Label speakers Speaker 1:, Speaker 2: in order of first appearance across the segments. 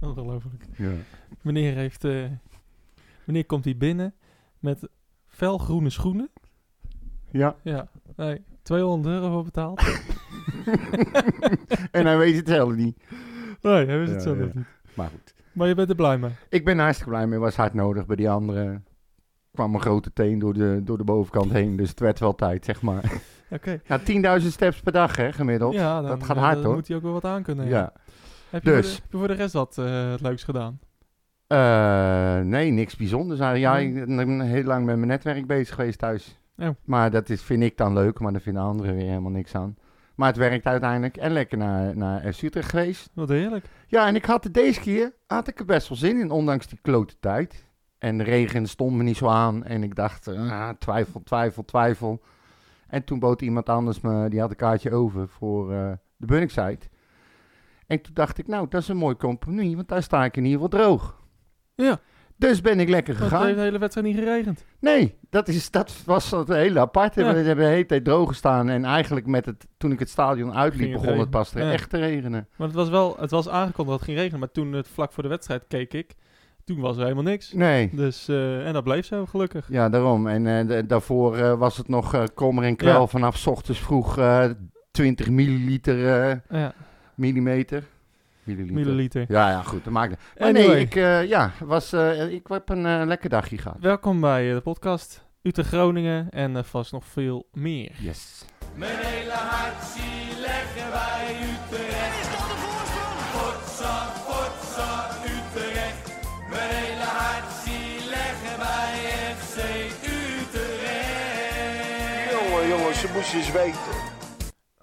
Speaker 1: Ongelooflijk.
Speaker 2: Ja.
Speaker 1: Meneer, heeft, eh, meneer komt hier binnen met felgroene schoenen.
Speaker 2: ja.
Speaker 1: Ja, nee, 200 euro voor betaald.
Speaker 2: En hij weet het helemaal niet.
Speaker 1: nee, hebben ze het
Speaker 2: Ja,
Speaker 1: zo
Speaker 2: ja.
Speaker 1: nog niet.
Speaker 2: Maar goed.
Speaker 1: Maar je bent er blij mee.
Speaker 2: Ik ben hartstikke blij mee. Was hard nodig. Bij die andere kwam een grote teen door de, door de bovenkant heen. Dus het werd wel tijd, zeg maar.
Speaker 1: Oké.
Speaker 2: Ja, 10.000 steps per dag, hè, gemiddeld. Ja.
Speaker 1: Ja, dan,
Speaker 2: dat gaat
Speaker 1: eh,
Speaker 2: hard,
Speaker 1: dan
Speaker 2: hoor.
Speaker 1: moet hij ook wel wat aan kunnen. ja. Heb, je
Speaker 2: Dus.
Speaker 1: voor de, heb je voor de rest wat eh, het leuks gedaan?
Speaker 2: Eh, nee, niks bijzonders. Ja, ja,
Speaker 1: Nee.
Speaker 2: ik ben heel lang met mijn netwerk bezig geweest thuis.
Speaker 1: Oh.
Speaker 2: Maar dat is, vind ik dan leuk, maar daar vinden anderen weer helemaal niks aan. Maar het werkt uiteindelijk. En lekker naar, naar FC Utrecht geweest.
Speaker 1: Wat heerlijk.
Speaker 2: Ja, en ik had het deze keer had ik er best wel zin in, ondanks die klote tijd. En de regen stond me niet zo aan. En ik dacht, ah, twijfel, twijfel, twijfel. En toen bood iemand anders me, die had een kaartje over voor eh, de Bunningside. En toen dacht ik, nou, dat is een mooi compagnie, want daar sta ik in ieder geval droog.
Speaker 1: Ja. eh,
Speaker 2: Dus ben ik lekker
Speaker 1: Want het heeft
Speaker 2: gegaan.
Speaker 1: de hele wedstrijd niet geregend.
Speaker 2: Nee, dat, is, dat was het hele aparte.
Speaker 1: Ja.
Speaker 2: We hebben de hele tijd droog gestaan. En eigenlijk met het, toen ik het stadion
Speaker 1: Ging
Speaker 2: uitliep,
Speaker 1: het
Speaker 2: begon het
Speaker 1: regenen.
Speaker 2: pas
Speaker 1: Ja.
Speaker 2: echt te regenen.
Speaker 1: Maar het was wel, het was aangekondigd dat het ging regenen. Maar toen het vlak voor de wedstrijd keek ik, toen was er helemaal niks.
Speaker 2: Nee.
Speaker 1: Dus, eh, en dat bleef zo, gelukkig.
Speaker 2: Ja, daarom. En eh, da- daarvoor eh, was het nog eh kommer en kwel
Speaker 1: Ja.
Speaker 2: vanaf 's ochtends vroeg eh 20 milliliter, eh,
Speaker 1: Ja,
Speaker 2: millimeter. Milliliter.
Speaker 1: milliliter.
Speaker 2: Ja, ja, goed. Dat maakt niet. Maar
Speaker 1: Anyway.
Speaker 2: nee, ik, eh, ja, was, eh, ik heb een eh, lekker dagje gehad.
Speaker 1: Welkom bij eh, de podcast Utrecht-Groningen en eh, vast nog veel meer.
Speaker 2: Yes.
Speaker 3: Mijn hele hart zie leggen wij Utrecht. Is dat de voorsprong? Potsa, potsa, Utrecht. Mijn hele hart zie leggen wij FC Utrecht.
Speaker 4: Jongen, jongens, ze moesten eens weten.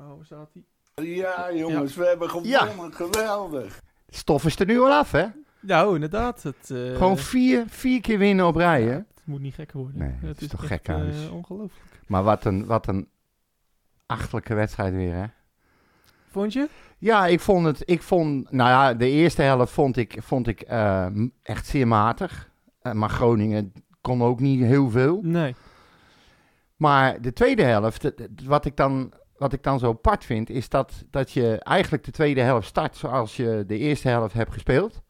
Speaker 1: Oh, staat die?
Speaker 4: Ja, jongens, we hebben gewonnen. Geweldig.
Speaker 2: Stof is er nu al af, hè?
Speaker 1: Nou, inderdaad. Het, eh,
Speaker 2: Gewoon vier, vier keer winnen op rij, hè?
Speaker 1: het moet niet gekker worden.
Speaker 2: Nee, het is toch
Speaker 1: echt,
Speaker 2: gek huis.
Speaker 1: eh, ongelooflijk.
Speaker 2: Maar wat een, wat een achterlijke wedstrijd weer, hè?
Speaker 1: Vond je?
Speaker 2: Ja, ik vond het. Ik vond, nou ja, de eerste helft vond ik, vond ik eh, m- echt zeer matig. Eh, maar Groningen kon ook niet heel veel.
Speaker 1: Nee.
Speaker 2: Maar de tweede helft, het- het- wat ik dan, wat ik dan zo apart vind, is dat, dat je eigenlijk de tweede helft start zoals je de eerste helft hebt gespeeld.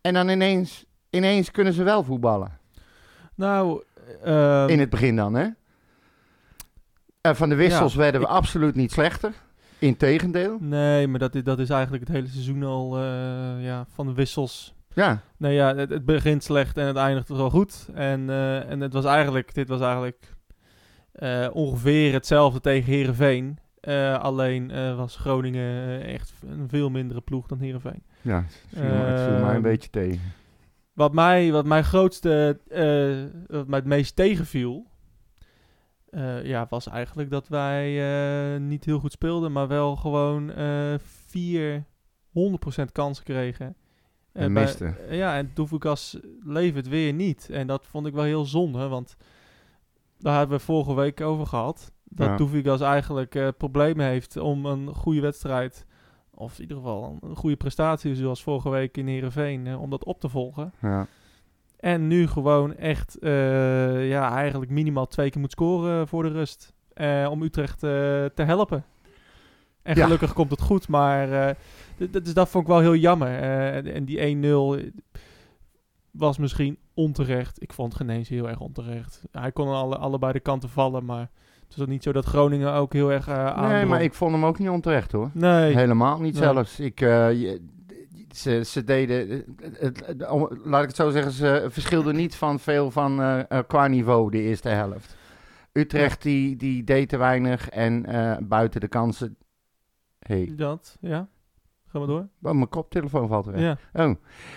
Speaker 2: En dan ineens, ineens kunnen ze wel voetballen.
Speaker 1: Nou, ehm,
Speaker 2: In het begin dan, hè? Eh, van de wissels werden we
Speaker 1: ik-
Speaker 2: absoluut niet slechter. Integendeel.
Speaker 1: nee, maar dat, i- dat is eigenlijk het hele seizoen al eh, ja, van de wissels.
Speaker 2: Ja,
Speaker 1: Nee, ja, het, het begint slecht en het eindigt wel goed. En, eh, en het was eigenlijk, dit was eigenlijk eh, ongeveer hetzelfde tegen Herenveen. alleen eh, was Groningen eh, echt een veel mindere ploeg dan Herenveen.
Speaker 2: ja het viel me- het viel mij
Speaker 1: Ehm,
Speaker 2: een beetje tegen.
Speaker 1: Wat mij, wat mijn grootste, eh, wat mij het meest tegenviel, eh, ja, was eigenlijk dat wij eh, niet heel goed speelden, maar wel gewoon eh vier 100% kansen kregen. Eh,
Speaker 2: En
Speaker 1: bij-
Speaker 2: misten.
Speaker 1: eh, ja, en Doefukas levert weer niet. En dat vond ik wel heel zonde, want daar hebben we vorige week over gehad. Dat
Speaker 2: Ja.
Speaker 1: Doefukas eigenlijk eh, problemen heeft om een goede wedstrijd, of in ieder geval een, een goede prestatie zoals vorige week in Heerenveen, eh, om dat op te volgen.
Speaker 2: Ja.
Speaker 1: En nu gewoon echt, eh, ja, eigenlijk minimaal twee keer moet scoren voor de rust. eh, om Utrecht eh, te helpen. En
Speaker 2: Ja.
Speaker 1: gelukkig komt het goed, maar eh, d- d- dus dat vond ik wel heel jammer. Eh, en, en die 1-0 was misschien onterecht. Ik vond het geen eens heel erg onterecht. Hij kon aan alle, allebei de kanten vallen, maar het was ook niet zo dat Groningen ook heel erg eh
Speaker 2: Nee,
Speaker 1: aandrong.
Speaker 2: maar ik vond hem ook niet onterecht hoor.
Speaker 1: Nee,
Speaker 2: Helemaal niet
Speaker 1: Nee.
Speaker 2: zelfs. Ik, eh, je- ze, ze deden, eh, het, het- om- laat ik het zo zeggen, ze verschilden niet van veel van eh, eh, qua niveau de eerste helft. Utrecht die, die deed te weinig en eh, buiten de kansen. hey,
Speaker 1: dat, ja. Gaan we door?
Speaker 2: oh, mijn koptelefoon valt weg.
Speaker 1: Ja.
Speaker 2: Oh.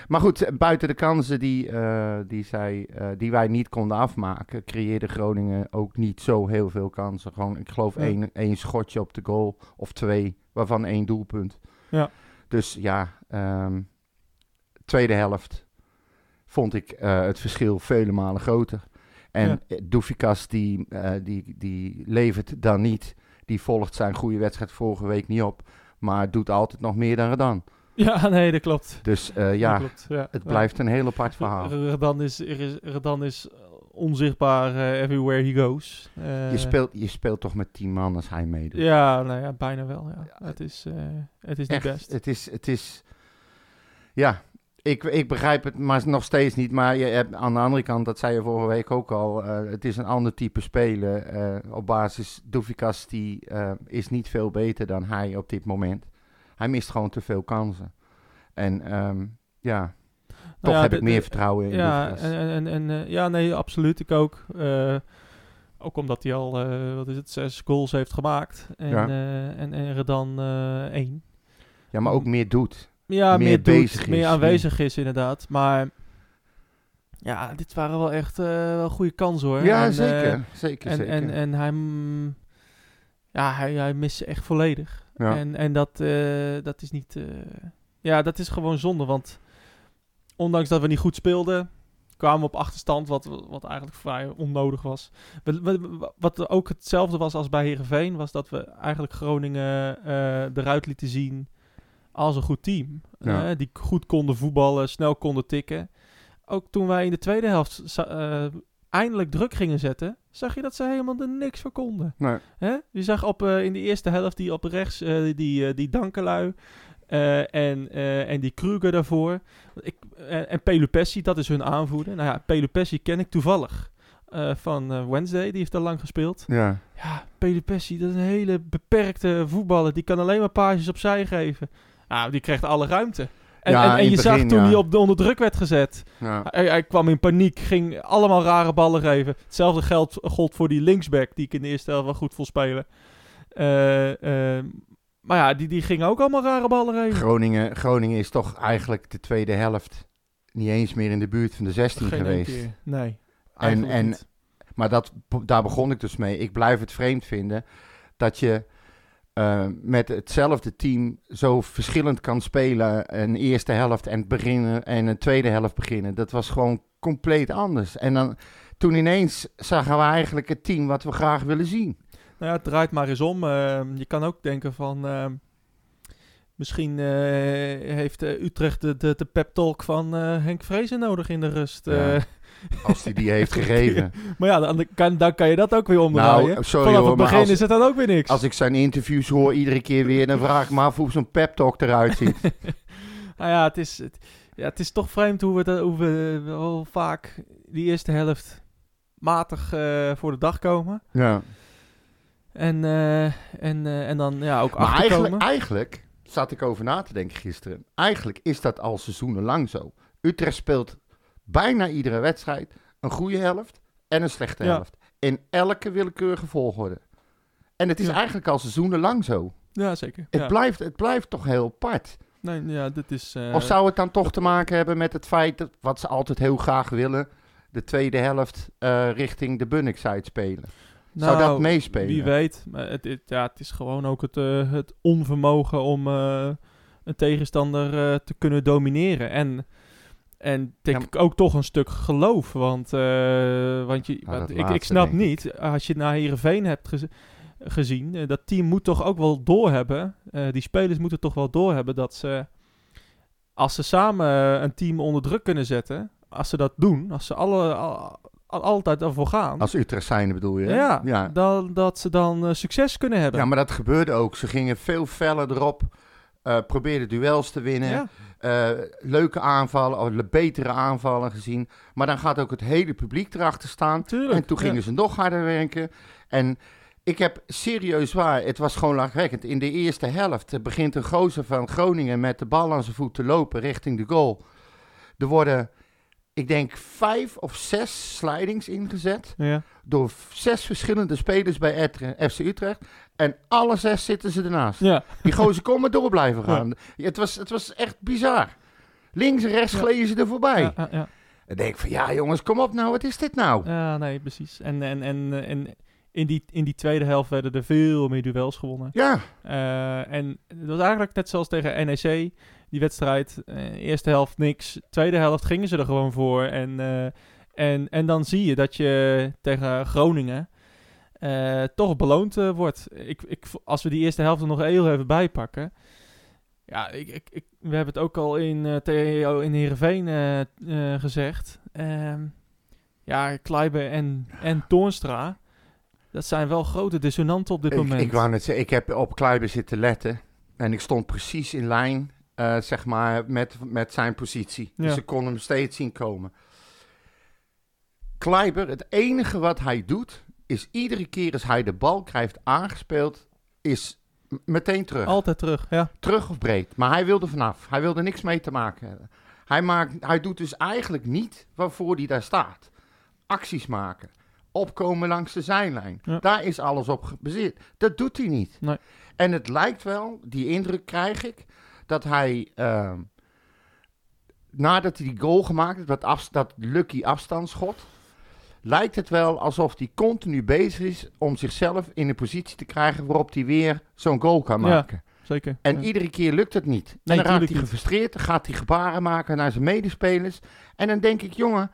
Speaker 2: Maar goed, eh, buiten de kansen die, eh, die, zij, eh, die wij niet konden afmaken, creëerde Groningen ook niet zo heel veel kansen. Gewoon, ik geloof
Speaker 1: Ja.
Speaker 2: één, één schotje op de goal of twee, waarvan één doelpunt.
Speaker 1: Ja.
Speaker 2: Dus ja, ehm, tweede helft vond ik eh, het verschil vele malen groter. En eh, Doefikas, die, eh, die, die levert dan niet. Die volgt zijn goede wedstrijd vorige week niet op. Maar doet altijd nog meer dan gedaan.
Speaker 1: ja, nee, dat klopt.
Speaker 2: Dus eh,
Speaker 1: Dat
Speaker 2: ja,
Speaker 1: klopt, ja.
Speaker 2: het
Speaker 1: Ja.
Speaker 2: blijft een heel apart verhaal.
Speaker 1: R- Redan is, er is, Redan is eh, onzichtbaar eh, everywhere he goes. Eh,
Speaker 2: Je speelt, je speelt toch met tien man als hij meedoet.
Speaker 1: Ja, nou ja, bijna wel. Ja. het, is, eh, het is niet
Speaker 2: Echt,
Speaker 1: best.
Speaker 2: Het is, het is, ja, Ik, ik begrijp het maar nog steeds niet. Maar je hebt, aan de andere kant, dat zei je vorige week ook al, eh, het is een ander type speler. eh, op basis, Doefikas die, eh, is niet veel beter dan hij op dit moment. Hij mist gewoon te veel kansen. En ehm, ja, toch
Speaker 1: Nou ja,
Speaker 2: heb
Speaker 1: de-
Speaker 2: ik meer
Speaker 1: de-
Speaker 2: vertrouwen in
Speaker 1: Ja,
Speaker 2: Doefikas.
Speaker 1: en, en, en, en, eh, ja, nee, absoluut. Ik ook. Eh, ook omdat hij al, eh, wat is het, zes goals heeft gemaakt. En,
Speaker 2: Ja.
Speaker 1: eh, en, en Redan eh één.
Speaker 2: ja, maar ook meer doet.
Speaker 1: Ja,
Speaker 2: Meer
Speaker 1: meer, doet,
Speaker 2: bezig is,
Speaker 1: meer
Speaker 2: ja.
Speaker 1: aanwezig is inderdaad. Maar ja, dit waren wel echt eh, wel goede kansen hoor.
Speaker 2: Ja,
Speaker 1: En, eh,
Speaker 2: zeker. zeker,
Speaker 1: en,
Speaker 2: zeker.
Speaker 1: en, en hij, mm, ja, hij, hij mist ze echt volledig.
Speaker 2: ja.
Speaker 1: En, en dat, eh, dat is niet. eh, ja, dat is gewoon zonde. Want ondanks dat we niet goed speelden, kwamen we op achterstand. Wat, wat eigenlijk vrij onnodig was. We- we- wat ook hetzelfde was als bij Herenveen, was dat we eigenlijk Groningen eh, eruit lieten zien als een goed team.
Speaker 2: Ja.
Speaker 1: Eh, die goed konden voetballen, snel konden tikken. Ook toen wij in de tweede helft za- eh, eindelijk druk gingen zetten, zag je dat ze helemaal er niks voor konden.
Speaker 2: Nee.
Speaker 1: Hè? Je zag op, eh, in de eerste helft die op rechts, eh, die, eh, die Dankelui eh, en, eh, en die Kruger daarvoor. Ik, en, en Pelupessi, dat is hun aanvoerder. Nou ja, Pelupessi ken ik toevallig eh, van eh, Wednesday, die heeft daar lang gespeeld.
Speaker 2: ja.
Speaker 1: Ja, Pelupessi, dat is een hele beperkte voetballer. Die kan alleen maar paasjes opzij geven. Nou, die krijgt alle ruimte. En,
Speaker 2: Ja,
Speaker 1: en, en
Speaker 2: in
Speaker 1: je
Speaker 2: het
Speaker 1: zag
Speaker 2: begin,
Speaker 1: toen
Speaker 2: ja.
Speaker 1: hij op de onder druk werd gezet.
Speaker 2: ja.
Speaker 1: Hij, hij kwam in paniek, ging allemaal rare ballen geven. Hetzelfde geldt gold voor die linksback, die ik in de eerste helft wel goed vol spelen. Eh, eh, maar ja, die, die ging ook allemaal rare ballen geven.
Speaker 2: Groningen, Groningen is toch eigenlijk de tweede helft niet eens meer in de buurt van de 16
Speaker 1: Geen één
Speaker 2: geweest.
Speaker 1: keer. Nee.
Speaker 2: En,
Speaker 1: eigenlijk
Speaker 2: en,
Speaker 1: niet.
Speaker 2: maar dat, daar begon ik dus mee. Ik blijf het vreemd vinden dat je eh, met hetzelfde team zo verschillend kan spelen. Een eerste helft en, beginnen, en een tweede helft beginnen. Dat was gewoon compleet anders. En dan, toen ineens zagen we eigenlijk het team wat we graag willen zien.
Speaker 1: Nou ja, het draait maar eens om. Eh, je kan ook denken van... eh, misschien eh, heeft eh, Utrecht de, de, de pep talk van eh, Henk Vrezen nodig in de rust.
Speaker 2: Ja.
Speaker 1: Eh,
Speaker 2: Als die die heeft gegeven.
Speaker 1: maar ja, dan kan, dan kan je dat ook weer omdraaien.
Speaker 2: Nou, eh, sorry
Speaker 1: Vanaf
Speaker 2: hoor,
Speaker 1: het
Speaker 2: maar
Speaker 1: begin
Speaker 2: als-
Speaker 1: is het dan ook weer niks.
Speaker 2: Als ik zijn interviews hoor iedere keer weer, dan vraag ik me af hoe zo'n pep talk eruit ziet.
Speaker 1: Nou ja, het is, het, ja, het is toch vreemd hoe we, dat, hoe we wel vaak die eerste helft matig eh, voor de dag komen.
Speaker 2: ja.
Speaker 1: En, eh, en, eh, en dan ja, ook
Speaker 2: Maar eigenlijk,
Speaker 1: achterkomen.
Speaker 2: eigenlijk zat ik over na te denken gisteren. Eigenlijk is dat al seizoenenlang zo. Utrecht speelt bijna iedere wedstrijd een goede helft en een slechte
Speaker 1: Ja.
Speaker 2: helft. In elke willekeurige volgorde. En het is
Speaker 1: Ja.
Speaker 2: eigenlijk al seizoenenlang zo.
Speaker 1: Ja, zeker.
Speaker 2: Het,
Speaker 1: ja.
Speaker 2: blijft, het blijft toch heel apart.
Speaker 1: Nee, ja, dit is... eh,
Speaker 2: of zou het dan toch te maken hebben met het feit dat, wat ze altijd heel graag willen, de tweede helft eh, richting de Bunnickside spelen? zou
Speaker 1: nou,
Speaker 2: dat meespelen?
Speaker 1: Wie weet. Maar het, het- ja, het is gewoon ook het, eh, het onvermogen om eh, een tegenstander eh, te kunnen domineren. En, en denk
Speaker 2: Ja,
Speaker 1: ik ook toch een stuk geloof. Want, eh, want, je,
Speaker 2: Nou,
Speaker 1: want
Speaker 2: dat
Speaker 1: ik, ik
Speaker 2: laatste,
Speaker 1: snap
Speaker 2: denk ik.
Speaker 1: niet, als je naar Heerenveen hebt geze- gezien, eh, dat team moet toch ook wel doorhebben. eh die spelers moeten toch wel doorhebben dat ze, als ze samen eh, een team onder druk kunnen zetten, als ze dat doen, als ze alle, al, al- altijd ervoor gaan.
Speaker 2: Als Utrecht zijnde bedoel je? hè?
Speaker 1: Ja,
Speaker 2: ja.
Speaker 1: Dan, dat ze dan eh, succes kunnen hebben.
Speaker 2: Ja, maar dat gebeurde ook. Ze gingen veel feller erop. eh, probeerden duels te winnen.
Speaker 1: Ja.
Speaker 2: eh, leuke aanvallen, of le- betere aanvallen gezien. Maar dan gaat ook het hele publiek erachter staan.
Speaker 1: Tuurlijk,
Speaker 2: en toen
Speaker 1: ja.
Speaker 2: gingen ze nog harder werken. En ik heb serieus waar, het was gewoon lachwekkend. In de eerste helft eh, begint een gozer van Groningen met de bal aan zijn voet te lopen richting de goal. Er worden, ik denk, vijf of zes slidings ingezet
Speaker 1: Ja.
Speaker 2: door v- zes verschillende spelers bij Etre- FC Utrecht. En alle zes zitten ze ernaast.
Speaker 1: Ja.
Speaker 2: Die gozer kon maar door blijven gaan. Ja, Het, was, het was echt bizar. Links en rechts
Speaker 1: Ja.
Speaker 2: gleden ze er voorbij.
Speaker 1: Ja, ja, ja.
Speaker 2: Dan denk ik van, ja jongens, kom op nou, wat is dit nou?
Speaker 1: Ja, nee, precies. En, en, en, eh, en in, die, in die tweede helft werden er veel meer duels gewonnen.
Speaker 2: Ja,
Speaker 1: Eh, en het was eigenlijk net zoals tegen NEC, die wedstrijd. eh, eerste helft niks, tweede helft gingen ze er gewoon voor. En, eh, en, en dan zie je dat je tegen Groningen eh, toch beloond eh, wordt. Ik, ik, vo- als we die eerste helft er nog heel even bijpakken. Ja, ik, ik, ik- we hebben het ook al in, eh TEO in Heerenveen eh, eh, gezegd. Ehm, ja, Kleiber en, en Toornstra, dat zijn wel grote dissonanten op dit
Speaker 2: ik,
Speaker 1: moment.
Speaker 2: ik wou net zeggen, ik heb op Kleiber zitten letten. En ik stond precies in lijn eh, zeg maar, met, met zijn positie.
Speaker 1: Ja.
Speaker 2: Dus ik kon hem steeds zien komen. Kleiber, het enige wat hij doet, is iedere keer als hij de bal krijgt aangespeeld, is m- meteen terug.
Speaker 1: Altijd terug, ja.
Speaker 2: Terug of breed. Maar hij wilde vanaf. Hij wilde niks mee te maken hebben. Hij, maakt, hij doet dus eigenlijk niet waarvoor hij daar staat. Acties maken. Opkomen langs de zijlijn.
Speaker 1: Ja.
Speaker 2: Daar is alles op gebaseerd. Dat doet hij niet.
Speaker 1: Nee.
Speaker 2: En het lijkt wel, die indruk krijg ik, dat hij... ehm, nadat hij die goal gemaakt heeft, dat, af, dat lucky afstandsschot... lijkt het wel alsof hij continu bezig is om zichzelf in een positie te krijgen... waarop hij weer zo'n goal kan
Speaker 1: Ja.
Speaker 2: maken.
Speaker 1: Zeker.
Speaker 2: En
Speaker 1: Ja.
Speaker 2: iedere keer lukt het niet.
Speaker 1: Nee,
Speaker 2: en dan raakt
Speaker 1: tuurlijk
Speaker 2: hij
Speaker 1: niet.
Speaker 2: gefrustreerd, dan gaat hij gebaren maken naar zijn medespelers. En dan denk ik, jongen,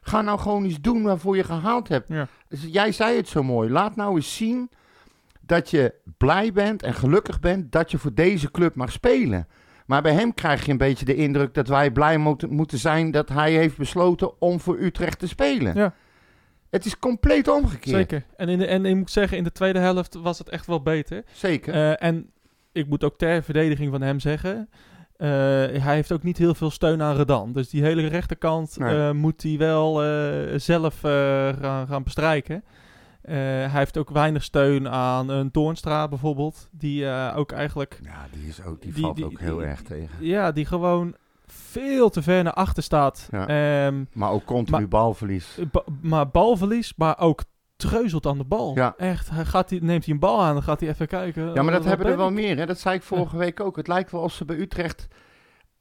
Speaker 2: ga nou gewoon eens doen waarvoor je gehaald hebt.
Speaker 1: Ja.
Speaker 2: Dus jij zei het zo mooi. Laat nou eens zien dat je blij bent en gelukkig bent dat je voor deze club mag spelen. Maar bij hem krijg je een beetje de indruk dat wij blij moeten, moeten zijn dat hij heeft besloten om voor Utrecht te spelen.
Speaker 1: Ja.
Speaker 2: Het is compleet omgekeerd.
Speaker 1: Zeker. En, in de, en ik moet zeggen, in de tweede helft was het echt wel beter.
Speaker 2: Zeker.
Speaker 1: Eh, en ik moet ook ter verdediging van hem zeggen. eh, hij heeft ook niet heel veel steun aan Redan. Dus die hele rechterkant
Speaker 2: Nee.
Speaker 1: eh, moet hij wel eh, zelf eh, gaan, gaan bestrijken. Eh, hij heeft ook weinig steun aan een Toornstra bijvoorbeeld. Die eh, ook eigenlijk...
Speaker 2: ja, die, is ook,
Speaker 1: die- die- die-
Speaker 2: tegen.
Speaker 1: Ja, die gewoon veel te ver naar achter staat.
Speaker 2: Ja.
Speaker 1: Ehm,
Speaker 2: Maar ook continu
Speaker 1: Maar-
Speaker 2: balverlies.
Speaker 1: Ba- maar balverlies, maar ook treuzelt aan de bal.
Speaker 2: Ja.
Speaker 1: Echt, hij gaat, die- neemt hij een bal aan, dan gaat hij even kijken.
Speaker 2: Ja, maar dat
Speaker 1: Wat
Speaker 2: hebben
Speaker 1: ben
Speaker 2: er wel
Speaker 1: ik?
Speaker 2: meer. Hè? Dat zei ik vorige week ook. Het lijkt wel of ze bij Utrecht.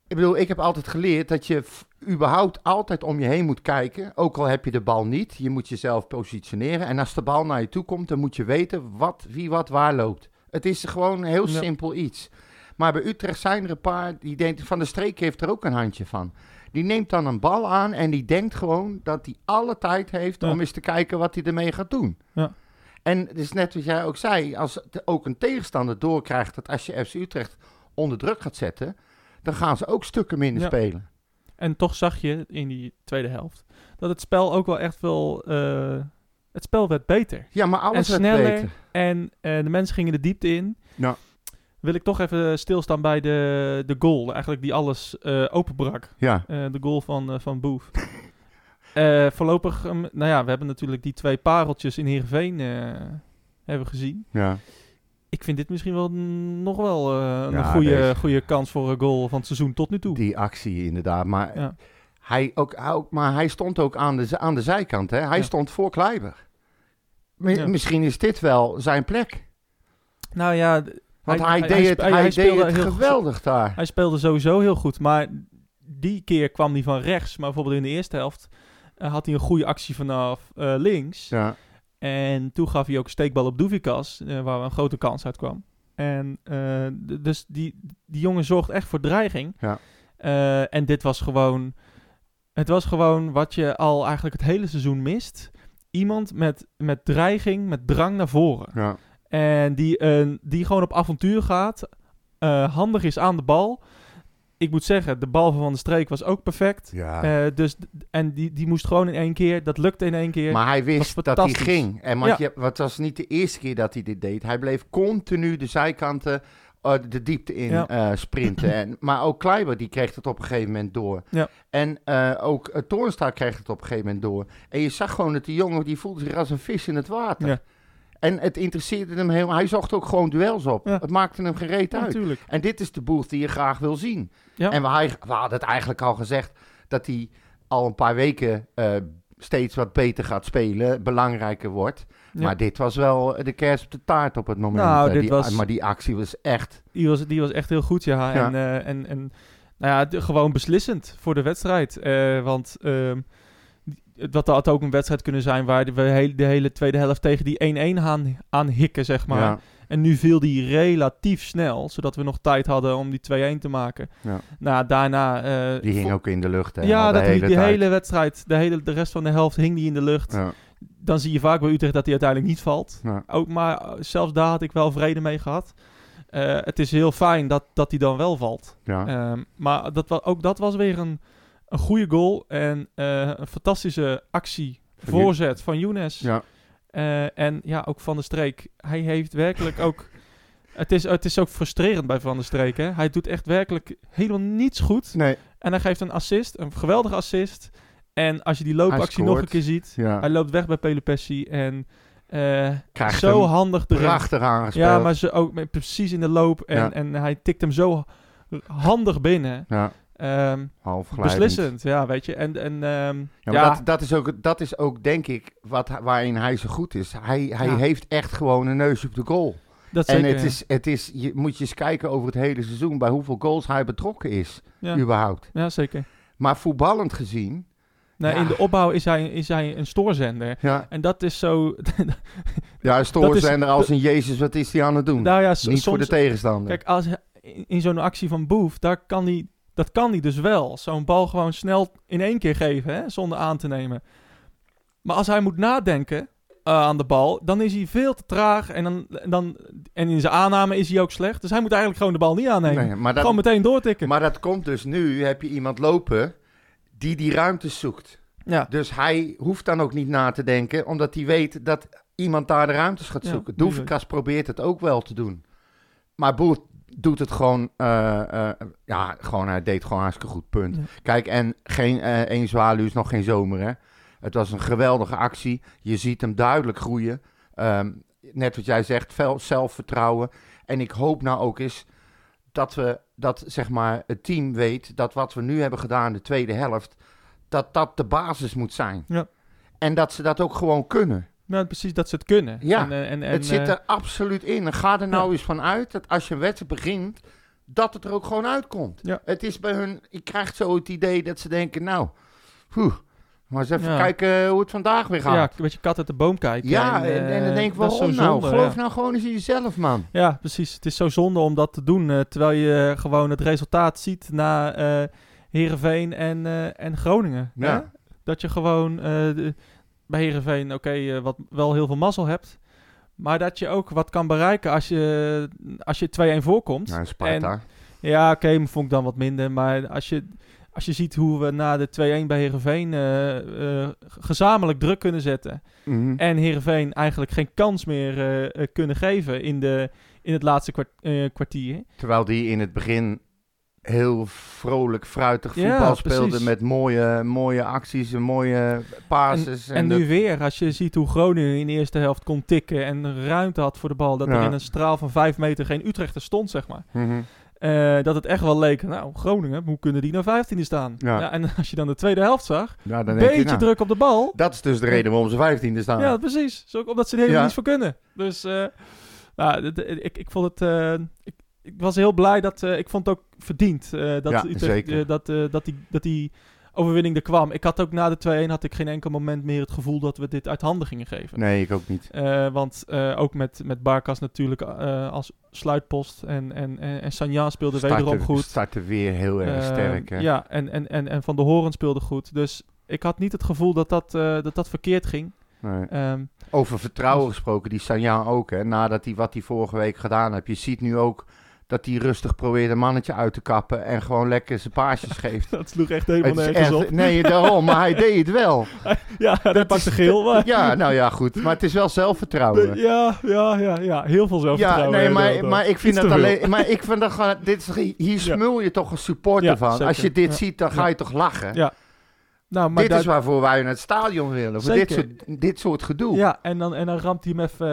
Speaker 2: Ik bedoel, ik heb altijd geleerd dat je f- überhaupt altijd om je heen moet kijken. Ook al heb je de bal niet. Je moet jezelf positioneren. En als de bal naar je toe komt, dan moet je weten wat, wie wat waar loopt. Het is gewoon een heel
Speaker 1: Ja.
Speaker 2: simpel iets. Maar bij Utrecht zijn er een paar die denken van de streek heeft er ook een handje van. Die neemt dan een bal aan en die denkt gewoon dat hij alle tijd heeft
Speaker 1: Ja.
Speaker 2: om eens te kijken wat hij ermee gaat doen. En het is net wat jij ook zei, als het ook een tegenstander doorkrijgt dat als je FC Utrecht onder druk gaat zetten, dan gaan ze ook stukken minder
Speaker 1: Ja.
Speaker 2: spelen.
Speaker 1: En toch zag je in die tweede helft dat het spel ook wel echt wel. eh, het spel werd beter.
Speaker 2: Ja, maar alles
Speaker 1: En
Speaker 2: werd
Speaker 1: sneller.
Speaker 2: beter.
Speaker 1: En eh, de mensen gingen de diepte in.
Speaker 2: Ja.
Speaker 1: Wil ik toch even stilstaan bij de, de goal, eigenlijk die alles eh, openbrak.
Speaker 2: Ja,
Speaker 1: Eh, de goal van, eh, van Boef. Eh, voorlopig, ehm, nou ja, we hebben natuurlijk die twee pareltjes in Heerenveen eh hebben we gezien.
Speaker 2: ja.
Speaker 1: Ik vind dit misschien wel mm, nog wel eh, een
Speaker 2: Ja,
Speaker 1: goede,
Speaker 2: deze.
Speaker 1: goede kans voor een goal van het seizoen tot nu toe.
Speaker 2: Die actie inderdaad. Maar,
Speaker 1: Ja.
Speaker 2: hij, ook, hij ook, maar hij stond ook aan de, z- aan de zijkant. Hè? Hij
Speaker 1: Ja.
Speaker 2: stond voor Kleiber. Mi-
Speaker 1: Ja.
Speaker 2: Misschien is dit wel zijn plek.
Speaker 1: Nou ja, d-
Speaker 2: Want
Speaker 1: Hij-
Speaker 2: hij,
Speaker 1: hij-
Speaker 2: deed
Speaker 1: hij
Speaker 2: het,
Speaker 1: sp-
Speaker 2: hij
Speaker 1: hij
Speaker 2: deed
Speaker 1: speelde
Speaker 2: het
Speaker 1: heel goed.
Speaker 2: geweldig daar.
Speaker 1: hij speelde sowieso heel goed. Maar die keer kwam hij van rechts. Maar bijvoorbeeld in de eerste helft eh, had hij een goede actie vanaf eh, links.
Speaker 2: Ja.
Speaker 1: En toen gaf hij ook een steekbal op Doevikas, eh, waar een grote kans uit kwam. En eh, d- dus die, die jongen zorgt echt voor dreiging.
Speaker 2: Ja.
Speaker 1: Eh, en dit was gewoon, het was gewoon wat je al eigenlijk het hele seizoen mist. Iemand met, met dreiging, met drang naar voren.
Speaker 2: Ja.
Speaker 1: En die, een die gewoon op avontuur gaat. eh, handig is aan de bal. Ik moet zeggen, de bal van Van de Streek was ook perfect.
Speaker 2: Ja.
Speaker 1: Eh, dus, d- en die, die moest gewoon in één keer. Dat lukte in één keer.
Speaker 2: Maar hij
Speaker 1: was
Speaker 2: wist dat hij
Speaker 1: fantastisch.
Speaker 2: ging. En want je, want het was niet de eerste keer dat hij dit deed. Hij bleef continu de zijkanten eh, de diepte in
Speaker 1: Ja.
Speaker 2: eh, sprinten. En, maar ook Kleiber die kreeg het op een gegeven moment door.
Speaker 1: Ja.
Speaker 2: En eh, ook eh, Toornstra kreeg het op een gegeven moment door. En je zag gewoon dat die jongen die voelde zich als een vis in het water.
Speaker 1: Ja.
Speaker 2: En het interesseerde hem heel. Hij zocht ook gewoon duels op.
Speaker 1: Ja.
Speaker 2: Het maakte hem gereed uit.
Speaker 1: natuurlijk.
Speaker 2: En dit is de boeg die je graag wil zien.
Speaker 1: Ja.
Speaker 2: En we, hij- we hadden het eigenlijk al gezegd dat hij al een paar weken eh, steeds wat beter gaat spelen, belangrijker wordt.
Speaker 1: Ja.
Speaker 2: Maar dit was wel eh, de kerst op de taart op het moment.
Speaker 1: Nou,
Speaker 2: hè.
Speaker 1: dit
Speaker 2: die,
Speaker 1: was-
Speaker 2: Maar die actie was echt.
Speaker 1: Die was, die was echt heel goed, ja.
Speaker 2: Ja.
Speaker 1: En, eh, en, en nou ja, d- gewoon beslissend voor de wedstrijd. Eh, want ehm, die- het- dat had ook een wedstrijd kunnen zijn waar de- we heel- de hele tweede helft tegen die 1-1 aan, aan hikken, zeg maar. eh,
Speaker 2: ja,
Speaker 1: En nu viel die relatief snel, zodat we nog tijd hadden om die 2-1 te maken.
Speaker 2: Ja.
Speaker 1: Nou, daarna... eh,
Speaker 2: die hing
Speaker 1: vo-
Speaker 2: ook in de lucht. Hè, al
Speaker 1: Ja,
Speaker 2: de
Speaker 1: dat hing
Speaker 2: hele
Speaker 1: die
Speaker 2: tijd.
Speaker 1: hele wedstrijd, de, hele, de rest van de helft hing die in de lucht.
Speaker 2: Ja,
Speaker 1: Dan zie je vaak bij Utrecht dat die uiteindelijk niet valt.
Speaker 2: ja.
Speaker 1: Ook, maar eh, zelfs daar had ik wel vrede mee gehad. Eh, het is heel fijn dat, dat die dan wel valt.
Speaker 2: ja.
Speaker 1: Ehm, maar dat, wa- ook dat was weer een, een goede goal. En eh, een fantastische actie,
Speaker 2: Van Ju-
Speaker 1: voorzet van Younes.
Speaker 2: Ja.
Speaker 1: Eh, en ja, ook van de streek. Hij heeft werkelijk ook. Het is, het is ook frustrerend bij Van der Streek. Hè? Hij doet echt werkelijk helemaal niets goed.
Speaker 2: Nee,
Speaker 1: En hij geeft een assist, een geweldige assist. En als je die loopactie nog een
Speaker 2: scoort.
Speaker 1: keer ziet, hij
Speaker 2: ja.
Speaker 1: loopt weg bij Pelopessi en eh,
Speaker 2: Krijgt
Speaker 1: zo
Speaker 2: hem
Speaker 1: handig erin.
Speaker 2: prachtig aangespeeld.
Speaker 1: Ja, maar ze ook met- precies in de loop en,
Speaker 2: Ja.
Speaker 1: en hij tikt hem zo handig binnen.
Speaker 2: Ja,
Speaker 1: Ehm,
Speaker 2: half glijdend.
Speaker 1: beslissend, ja, weet je. En, en ehm,
Speaker 2: Ja,
Speaker 1: ja,
Speaker 2: maar Dat, dat, is ook, dat is ook, denk ik, wat, hij- waarin hij zo goed is. Hij, hij
Speaker 1: Ja.
Speaker 2: heeft echt gewoon een neus op de goal.
Speaker 1: dat
Speaker 2: En
Speaker 1: zeker.
Speaker 2: het is, het is, je moet je eens kijken over het hele seizoen bij hoeveel goals hij betrokken is,
Speaker 1: ja.
Speaker 2: überhaupt.
Speaker 1: Ja, zeker.
Speaker 2: Maar voetballend gezien,
Speaker 1: Nou,
Speaker 2: Ja.
Speaker 1: In de opbouw is hij, is hij een stoorzender.
Speaker 2: ja,
Speaker 1: En dat is zo...
Speaker 2: ja stoorzender
Speaker 1: dat-
Speaker 2: als een Jezus, wat is hij aan het doen?
Speaker 1: nou ja, so-
Speaker 2: Niet voor de
Speaker 1: soms...
Speaker 2: tegenstander.
Speaker 1: Kijk, als, hij- in, in zo'n actie van Boef, daar kan hij, dat kan hij dus wel. Zo'n bal gewoon snel in één keer geven, hè, zonder aan te nemen. Maar als hij moet nadenken eh, aan de bal, dan is hij veel te traag. En, dan, dan, en in zijn aanname is hij ook slecht. Dus hij moet eigenlijk gewoon de bal niet aannemen.
Speaker 2: Nee, maar,
Speaker 1: gewoon
Speaker 2: dat,
Speaker 1: meteen doortikken.
Speaker 2: maar dat komt dus nu, heb je iemand lopen die die ruimte zoekt.
Speaker 1: ja.
Speaker 2: Dus hij hoeft dan ook niet na te denken, omdat hij weet dat iemand daar de ruimtes gaat
Speaker 1: Ja,
Speaker 2: zoeken.
Speaker 1: tuurlijk.
Speaker 2: Doevenkas probeert het ook wel te doen. Maar Boer doet het gewoon, eh, eh, ja, gewoon, hij deed het gewoon hartstikke goed, punt.
Speaker 1: Ja.
Speaker 2: Kijk, en geen eh, één zwaluw is nog geen zomer, hè. Het was een geweldige actie. Je ziet hem duidelijk groeien. Ehm, net wat jij zegt, veel zelfvertrouwen. En ik hoop nou ook eens dat we dat zeg maar het team weet dat wat we nu hebben gedaan in de tweede helft dat dat de basis moet zijn.
Speaker 1: Ja.
Speaker 2: En dat ze dat ook gewoon kunnen.
Speaker 1: Nou, precies dat ze het kunnen.
Speaker 2: Ja,
Speaker 1: En, eh, en, en,
Speaker 2: het zit
Speaker 1: eh,
Speaker 2: er absoluut in. En ga er nou eens van uit dat als je een wedstrijd begint, dat het er ook gewoon uitkomt.
Speaker 1: Ja.
Speaker 2: Het is bij hun, ik krijg zo het idee dat ze denken, nou, poeh, maar eens even
Speaker 1: Ja.
Speaker 2: kijken hoe het vandaag weer
Speaker 1: ja,
Speaker 2: gaat.
Speaker 1: een beetje kat uit de boom kijken.
Speaker 2: Ja,
Speaker 1: eh,
Speaker 2: en, en dan denk ik,
Speaker 1: dat is zo
Speaker 2: waarom nou?
Speaker 1: zonde,
Speaker 2: Geloof
Speaker 1: ja.
Speaker 2: nou gewoon eens in jezelf, man.
Speaker 1: Ja, precies. Het is zo zonde om dat te doen. eh, terwijl je eh, gewoon het resultaat ziet na eh Heerenveen en, eh, en Groningen. hè?
Speaker 2: Ja.
Speaker 1: Dat je gewoon eh, de- bij Heerenveen, oké, eh, wat wel heel veel mazzel hebt. Maar dat je ook wat kan bereiken als je, als je 2-1 voorkomt. Ja,
Speaker 2: Nou, Sparta.
Speaker 1: oké, maar vond ik dan wat minder. Maar als je, als je ziet hoe we na de 2-1 bij Heerenveen eh, eh, gezamenlijk druk kunnen zetten
Speaker 2: Mhm.
Speaker 1: en Heerenveen eigenlijk geen kans meer eh, eh, kunnen geven in, de, in het laatste kwart- eh, kwartier.
Speaker 2: Terwijl die in het begin heel vrolijk, fruitig
Speaker 1: Ja,
Speaker 2: voetbal speelde
Speaker 1: precies.
Speaker 2: met mooie, mooie acties en mooie passes.
Speaker 1: En, nu weer, als je ziet hoe Groningen in de eerste helft kon tikken en ruimte had voor de bal, dat
Speaker 2: Ja.
Speaker 1: er in een straal van vijf meter geen Utrechter stond, zeg maar.
Speaker 2: dat- Mhm.
Speaker 1: Eh, dat het echt wel leek, nou, Groningen, hoe kunnen die nou vijftiende staan?
Speaker 2: Ja.
Speaker 1: en als je dan de tweede helft zag,
Speaker 2: Ja, dan
Speaker 1: een
Speaker 2: denk
Speaker 1: beetje
Speaker 2: je, nou,
Speaker 1: druk op de bal.
Speaker 2: Dat is dus de reden waarom ze 15 staan.
Speaker 1: Ja, precies. Zo, omdat ze er helemaal
Speaker 2: Ah. Ja.
Speaker 1: niets voor kunnen. Dus eh, nou, d- d- ik, ik vond het. eh, ik, ik was heel blij dat. eh, ik vond het ook verdiend eh, dat,
Speaker 2: Ja,
Speaker 1: Utrecht,
Speaker 2: zeker.
Speaker 1: eh, dat, eh, dat, die, dat die overwinning er kwam. Ik had ook na de 2-1 had ik geen enkel moment meer het gevoel dat we dit uit handen gingen geven.
Speaker 2: Nee, ik ook niet.
Speaker 1: Eh, want eh, ook met, met Barkas natuurlijk eh, als sluitpost. En, en, en, en Sanjaan speelde wederom goed.
Speaker 2: startte weer heel erg
Speaker 1: Eh,
Speaker 2: sterk. Hè?
Speaker 1: Ja, en, en, en, en Van de Horen speelde goed. Dus ik had niet het gevoel dat dat, eh, dat, dat verkeerd ging.
Speaker 2: Nee.
Speaker 1: Ehm,
Speaker 2: Over vertrouwen gesproken, die Sanjaan ook. Hè? Nadat hij wat hij vorige week gedaan heeft. Je ziet nu ook dat hij rustig probeert een mannetje uit te kappen. En gewoon lekker zijn paasjes geeft.
Speaker 1: dat sloeg echt helemaal
Speaker 2: Het is
Speaker 1: nergens op.
Speaker 2: echt- nee, daarom. Maar hij deed het wel.
Speaker 1: Ja, dat pakt de geel. Maar...
Speaker 2: Ja, nou ja, goed. Maar het is wel zelfvertrouwen.
Speaker 1: Ja, ja, ja, ja. Heel veel
Speaker 2: Ja,
Speaker 1: zelfvertrouwen.
Speaker 2: nee, maar,
Speaker 1: inderdaad.
Speaker 2: maar ik vind
Speaker 1: Iets te
Speaker 2: dat
Speaker 1: veel.
Speaker 2: alleen. Maar ik vind dat gewoon. Dit is, hier smul je toch als supporter
Speaker 1: Ja,
Speaker 2: van. Als je
Speaker 1: zeker.
Speaker 2: dit
Speaker 1: Ja.
Speaker 2: ziet, dan ga je toch lachen.
Speaker 1: Ja, Nou, maar
Speaker 2: dit
Speaker 1: dat-
Speaker 2: is waarvoor wij naar het stadion willen. Voor dit
Speaker 1: Zeker.
Speaker 2: soort, dit soort gedoe.
Speaker 1: Ja, en dan, en dan ramt hij hem even...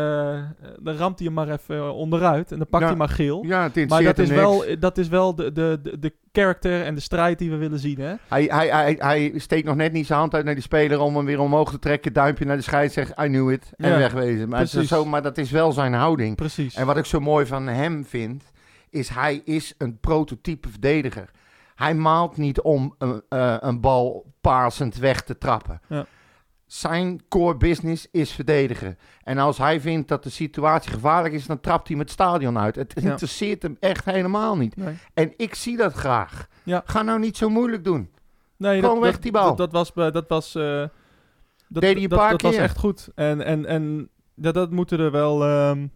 Speaker 1: eh, dan ramt hij hem maar even eh, onderuit. En dan pakt
Speaker 2: Ja.
Speaker 1: hij maar geel.
Speaker 2: Ja, het interesseert
Speaker 1: Maar dat
Speaker 2: hem
Speaker 1: is,
Speaker 2: niks.
Speaker 1: wel, dat is wel de, de, de, de karakter en de strijd die we willen zien, hè?
Speaker 2: Hij, hij, hij, hij steekt nog net niet zijn hand uit naar die speler om hem weer omhoog te trekken. Duimpje naar de scheid, zegt I knew it. En
Speaker 1: Ja,
Speaker 2: wegwezen. Maar, het is
Speaker 1: precies.
Speaker 2: zo, maar dat is wel zijn houding.
Speaker 1: Precies.
Speaker 2: En wat ik zo mooi van hem vind, is hij is een prototype verdediger. Hij maalt niet om een, eh, een bal pasend weg te trappen.
Speaker 1: Ja.
Speaker 2: Zijn core business is verdedigen. En als hij vindt dat de situatie gevaarlijk is, dan trapt hij hem het stadion uit. Het
Speaker 1: Ja.
Speaker 2: interesseert hem echt helemaal niet.
Speaker 1: Nee.
Speaker 2: En ik zie dat graag.
Speaker 1: Ja.
Speaker 2: Ga nou niet zo moeilijk doen.
Speaker 1: Nee,
Speaker 2: Gewoon weg die bal.
Speaker 1: Dat, dat was... bij- Dat was eh, dat,
Speaker 2: Deed hij een
Speaker 1: dat,
Speaker 2: paar
Speaker 1: dat was
Speaker 2: keer.
Speaker 1: echt goed. En, en, en dat, dat moeten er wel... ehm,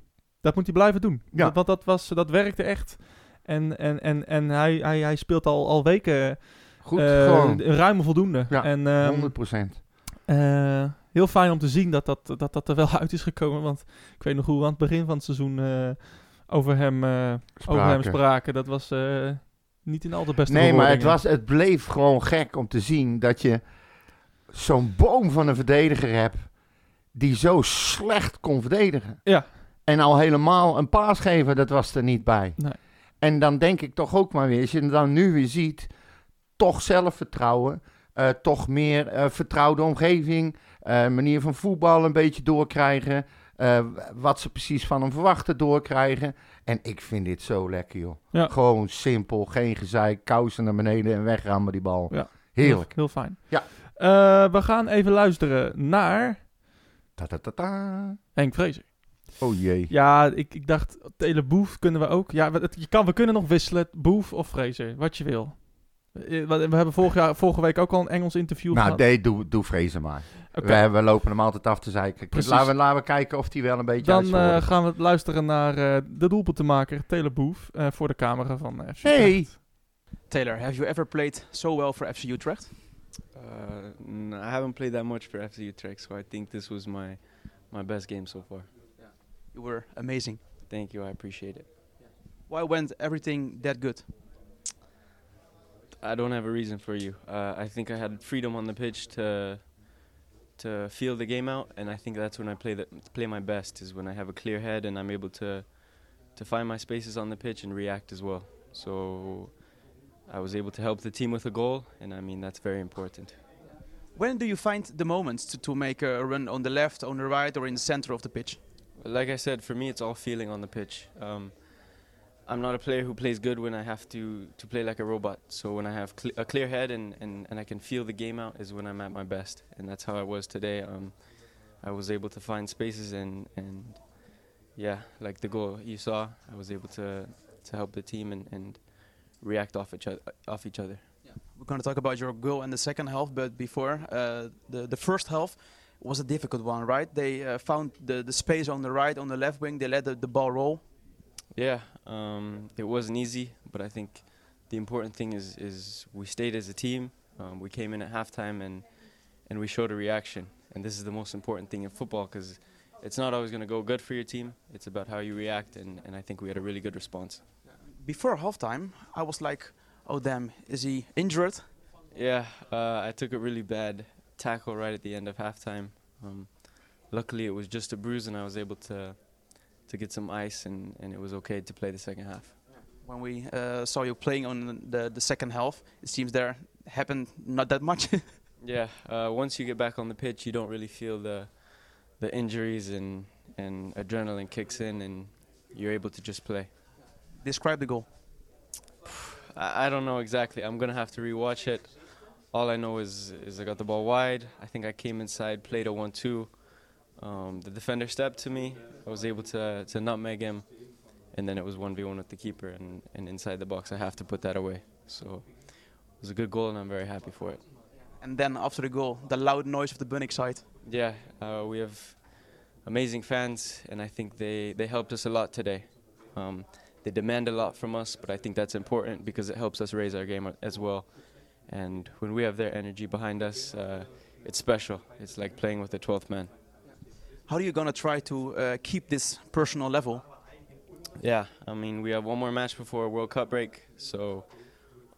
Speaker 1: dat moet hij blijven doen.
Speaker 2: Ja.
Speaker 1: Dat, want dat, was, dat werkte echt. En, en, en, en hij, hij, hij speelt al, al weken
Speaker 2: Goed,
Speaker 1: eh,
Speaker 2: gewoon.
Speaker 1: ruim voldoende.
Speaker 2: Ja,
Speaker 1: en, ehm,
Speaker 2: 100%.
Speaker 1: eh, heel fijn om te zien dat dat, dat dat er wel uit is gekomen. Want ik weet nog hoe we aan het begin van het seizoen eh, over hem, eh, over hem spraken. Dat was eh, niet in al de beste
Speaker 2: Nee, maar het,
Speaker 1: bewoordingen.
Speaker 2: was, het bleef gewoon gek om te zien dat je zo'n boom van een verdediger hebt die zo slecht kon verdedigen.
Speaker 1: Ja.
Speaker 2: En al helemaal een paas geven, dat was er niet bij.
Speaker 1: Nee.
Speaker 2: En dan denk ik toch ook maar weer, als je het dan nu weer ziet, toch zelfvertrouwen, eh, toch meer eh, vertrouwde omgeving, eh, manier van voetbal een beetje doorkrijgen, eh, wat ze precies van hem verwachten doorkrijgen. En ik vind dit zo lekker, joh.
Speaker 1: Ja.
Speaker 2: Gewoon simpel, geen gezeik, kousen naar beneden en wegrammen die bal.
Speaker 1: Ja.
Speaker 2: Heerlijk.
Speaker 1: Heel, heel fijn.
Speaker 2: Ja.
Speaker 1: Eh, we gaan even luisteren naar
Speaker 2: Ta -ta -ta -ta.
Speaker 1: Henk Vrezer.
Speaker 2: Oh jee.
Speaker 1: Ja, ik, ik dacht, Teleboef kunnen we ook. Ja, we- het, je kan, we kunnen nog wisselen. Boef of Fraser, wat je wil. Eh, We we hebben vorig jaar, vorige week ook al een Engels interview
Speaker 2: nou,
Speaker 1: gehad.
Speaker 2: nee, doe, doe vrezen maar.
Speaker 1: Oké,
Speaker 2: We, we lopen hem altijd af te zeiken.
Speaker 1: Precies.
Speaker 2: Laten we, laten we kijken of hij wel een beetje
Speaker 1: Dan
Speaker 2: uit
Speaker 1: eh,
Speaker 2: zijn woorden
Speaker 1: gaan we luisteren naar eh, de doelpuntenmaker Teleboef eh, voor de camera van eh FC
Speaker 2: Hey.
Speaker 1: Utrecht.
Speaker 5: Taylor, have you ever played so well for FC Utrecht?
Speaker 6: Uh, n- I haven't played that much for FC Utrecht, so I think this was my my best game so far.
Speaker 5: You were amazing.
Speaker 6: Thank you, I appreciate it.
Speaker 5: Why went everything that good?
Speaker 6: I don't have a reason for you. Uh, I think I had freedom on the pitch to to feel the game out, and I think that's when I play the, play my best is when I have a clear head and I'm able to to find my spaces on the pitch and react as well. So I was able to help the team with a goal, and I mean that's very important.
Speaker 5: When do you find the moments to, to make a run on the left, on the right, or in the center of the pitch?
Speaker 6: Like I said, for me, it's all feeling on the pitch. Um, I'm not a player who plays good when I have to, to play like a robot. So when I have cle a clear head and, and, and I can feel the game out is when I'm at my best. And that's how I was today. Um, I was able to find spaces and, and yeah, like the goal you saw, I was able to, to help the team and, and react off each, oth- off each other.
Speaker 5: We're going to talk about your goal in the second half, but before uh, the the first half was a difficult one, right? They uh, found the, the space on the right, on the left wing. They let the, the ball roll.
Speaker 6: Yeah, um, it wasn't easy, but I think the important thing is is we stayed as a team. Um, we came in at halftime and and we showed a reaction, and this is the most important thing in football because it's not always going to go good for your team. It's about how you react, and, and I think we had a really good response.
Speaker 5: Before halftime, I was like, "Oh damn, is he injured?"
Speaker 6: Yeah, uh, I took a really bad tackle right at the end of halftime. Um, luckily, it was just a bruise, and I was able to to get some ice, and, and it was okay to play the second half.
Speaker 5: When we uh, saw you playing on the, the second half, it seems there happened not that much.
Speaker 6: Yeah, uh, once you get back on the pitch, you don't really feel the the injuries and and adrenaline kicks in, and you're able to just play.
Speaker 5: Describe the goal.
Speaker 6: I, I don't know exactly. I'm gonna have to rewatch it. All I know is is I got the ball wide. I think I came inside, played a one-two. Um, the defender stepped to me. I was able to to nutmeg him, and then it was one v one with the keeper. And, and inside the box, I have to put that away. So it was a good goal, and I'm very happy for it.
Speaker 5: And then after the goal, the loud noise of the Bunnik side.
Speaker 6: Yeah, uh, we have amazing fans, and I think they, they helped us a lot today. Um, they demand a lot from us, but I think that's important because it helps us raise our game a- as well. And when we have their energy behind us, uh, it's special. It's like playing with the 12th man.
Speaker 5: How are you going to try to uh, keep this personal level?
Speaker 6: Yeah, I mean, we have one more match before a World Cup break, so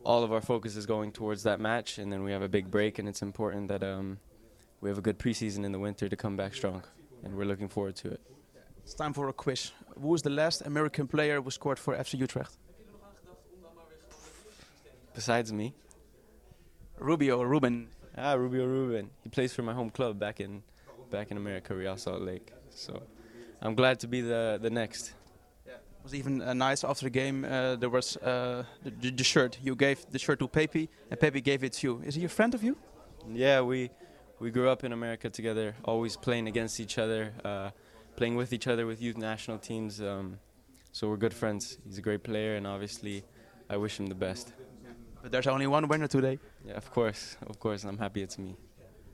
Speaker 6: all of our focus is going towards that match, and then we have a big break, and it's important that um, we have a good preseason in the winter to come back strong, and we're looking forward to it.
Speaker 5: It's time for a quiz. Who is the last American player who scored for FC Utrecht?
Speaker 6: Besides me,
Speaker 5: Rubio or Ruben?
Speaker 6: Ah, Rubio Rubin. He plays for my home club back in back in America, Real Salt Lake. So I'm glad to be the the next.
Speaker 5: It was even uh, nice after the game. Uh, there was uh, the, the- the shirt. You gave the shirt to Pepe, and Pepe gave it to you. Is he a friend of you?
Speaker 6: Yeah, we we grew up in America together, always playing against each other, uh, playing with each other with youth national teams. Um, so we're good friends. He's a great player, and obviously, I wish him the best.
Speaker 5: But there's only one winner today.
Speaker 6: Yeah, of course, of course, and I'm happy it's me.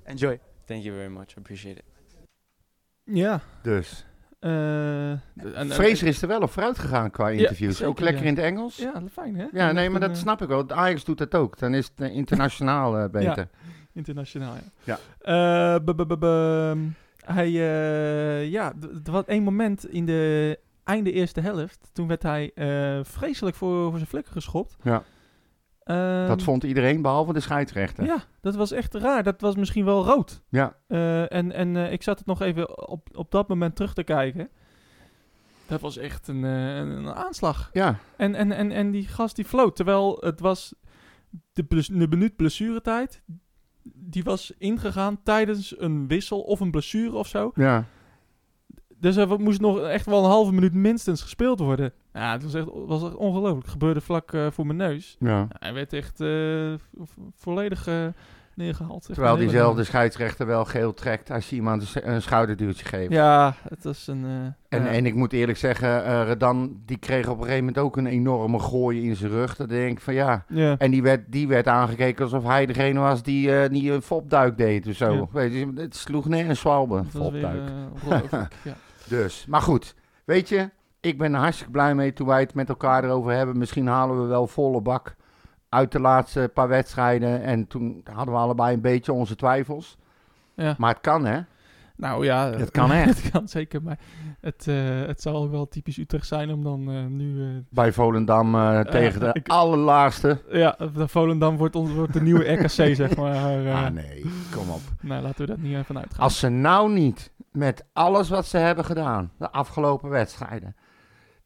Speaker 5: Enjoy.
Speaker 6: Thank you very much. I appreciate it.
Speaker 1: Ja.
Speaker 2: Dus.
Speaker 1: eh, en- en-
Speaker 2: Fraser is er wel op vooruit gegaan qua
Speaker 1: Ja,
Speaker 2: interviews.
Speaker 1: zeker,
Speaker 2: Ook lekker
Speaker 1: ja.
Speaker 2: in het Engels. Ja,
Speaker 1: Ja, fijn hè?
Speaker 2: nee, maar
Speaker 1: Een,
Speaker 2: dat
Speaker 1: eh,
Speaker 2: snap ik wel. Ajax doet dat ook. Dan is het eh, internationaal eh, beter.
Speaker 1: Internationaal, ja.
Speaker 2: Ja.
Speaker 1: ehm, Eh, bu- bu- bu- bu- hij, eh, ja, d- er was één moment in de einde eerste helft, toen werd hij eh, vreselijk voor, voor zijn flikker geschopt.
Speaker 2: Ja.
Speaker 1: Ehm,
Speaker 2: dat vond iedereen behalve de scheidsrechter.
Speaker 1: Ja, dat was echt raar. Dat was misschien wel rood.
Speaker 2: Ja.
Speaker 1: Eh, en en eh, ik zat het nog even op, op dat moment terug te kijken. Dat was echt een, eh, een, een aanslag.
Speaker 2: Ja,
Speaker 1: En, en, en, en die gast die floot. Terwijl het was de, bless- de minuut blessuretijd. Die was ingegaan tijdens een wissel of een blessure of zo.
Speaker 2: ja.
Speaker 1: Dus er moest nog echt wel een halve minuut minstens gespeeld worden. Ja, het was echt, was echt ongelooflijk. Het gebeurde vlak eh, voor mijn neus.
Speaker 2: ja.
Speaker 1: Hij werd echt eh, vo- vo- volledig eh, neergehaald. Echt
Speaker 2: Terwijl
Speaker 1: een hele
Speaker 2: diezelfde scheidsrechter wel geel trekt als je iemand een s- een schouderduwtje geeft.
Speaker 1: Ja, het was een. eh,
Speaker 2: En,
Speaker 1: ja.
Speaker 2: en ik moet eerlijk zeggen, eh, Redan die kreeg op een gegeven moment ook een enorme gooi in zijn rug. Dat denk ik van ja.
Speaker 1: Ja.
Speaker 2: En die werd, die werd aangekeken alsof hij degene was die, eh, die een fopduik deed. Dus zo.
Speaker 1: Ja.
Speaker 2: Weet je, het sloeg neer een zwalbe.
Speaker 1: Het was weer
Speaker 2: Fopduik.
Speaker 1: eh, ongelooflijk. ja.
Speaker 2: Dus, maar goed. Weet je, ik ben er hartstikke blij mee toen wij het met elkaar erover hebben. Misschien halen we wel volle bak uit de laatste paar wedstrijden. En toen hadden we allebei een beetje onze twijfels.
Speaker 1: Ja.
Speaker 2: Maar het kan, hè?
Speaker 1: Nou ja,
Speaker 2: Het kan echt.
Speaker 1: het kan zeker. Maar het, eh, het zou ook wel typisch Utrecht zijn om dan eh, nu. eh,
Speaker 2: Bij Volendam eh, tegen de
Speaker 1: ik-
Speaker 2: allerlaagste.
Speaker 1: ja, eh, de Volendam wordt, ons, wordt de nieuwe RKC, zeg maar. eh,
Speaker 2: Ah nee, kom op.
Speaker 1: Nou, laten we dat niet even uitgaan.
Speaker 2: Als ze nou niet met alles wat ze hebben gedaan de afgelopen wedstrijden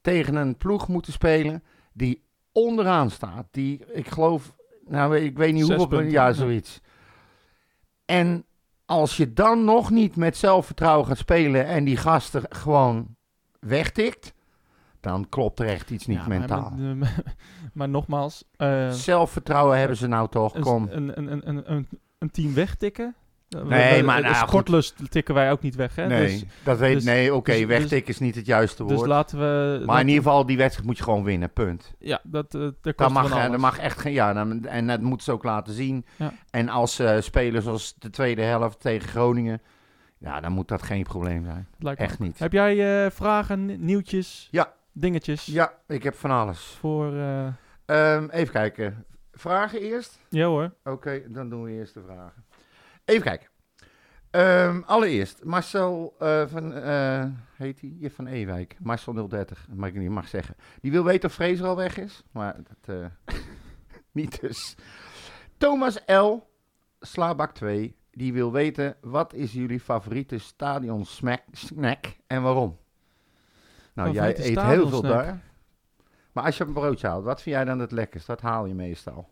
Speaker 2: tegen een ploeg moeten spelen die onderaan staat, die ik geloof, nou ik weet niet
Speaker 1: Zes
Speaker 2: hoeveel
Speaker 1: punten,
Speaker 2: ja
Speaker 1: ja.
Speaker 2: zoiets. En als je dan nog niet met zelfvertrouwen gaat spelen en die gasten gewoon wegtikt, dan klopt er echt iets niet
Speaker 1: Ja, maar-
Speaker 2: mentaal.
Speaker 1: Maar, maar- maar nogmaals, eh, dus,
Speaker 2: zelfvertrouwen hebben ze nou toch, kom.
Speaker 1: een, een, een, een, een, een team wegtikken. Eh, Nee,
Speaker 2: maar nou, goed.
Speaker 1: Sportlust dus tikken wij ook niet weg, hè?
Speaker 2: nee,
Speaker 1: Dus,
Speaker 2: dat weet,
Speaker 1: dus-
Speaker 2: nee, oké,
Speaker 1: dus-
Speaker 2: wegtikken is niet het juiste
Speaker 1: dus
Speaker 2: woord.
Speaker 1: laten we...
Speaker 2: maar in ieder geval, die wedstrijd moet je gewoon winnen, punt.
Speaker 1: Ja, dat, eh, dat kost
Speaker 2: Daar
Speaker 1: van
Speaker 2: mag, eh,
Speaker 1: alles.
Speaker 2: daar mag echt geen. Ja, dan- en dat moeten ze ook laten zien.
Speaker 1: Ja.
Speaker 2: En als ze spelen zoals de tweede helft tegen Groningen. Ja, dan moet dat geen probleem zijn.
Speaker 1: Lijkt me
Speaker 2: Echt niet.
Speaker 1: Heb jij eh, vragen, nieuwtjes,
Speaker 2: Ja.
Speaker 1: dingetjes
Speaker 2: Ja, ik heb van alles.
Speaker 1: voor... eh,
Speaker 2: Ehm, even kijken. Vragen eerst?
Speaker 1: ja hoor.
Speaker 2: Oké, dan doen we eerst de vragen. Even kijken. Ehm, allereerst, Marcel eh, van, eh, heet hij? Ja, van Ewijk. Marcel 030, dat mag ik niet mag zeggen. Die wil weten of Fraser al weg is, maar dat eh, niet dus. Thomas L, Slaabak 2, die wil weten wat is jullie favoriete stadion smack- snack en waarom? Nou, jij
Speaker 1: Favoriete
Speaker 2: eet heel veel
Speaker 1: stadionsnack?
Speaker 2: daar. Maar als je een broodje haalt, wat vind jij dan het lekkerst? Wat haal je meestal?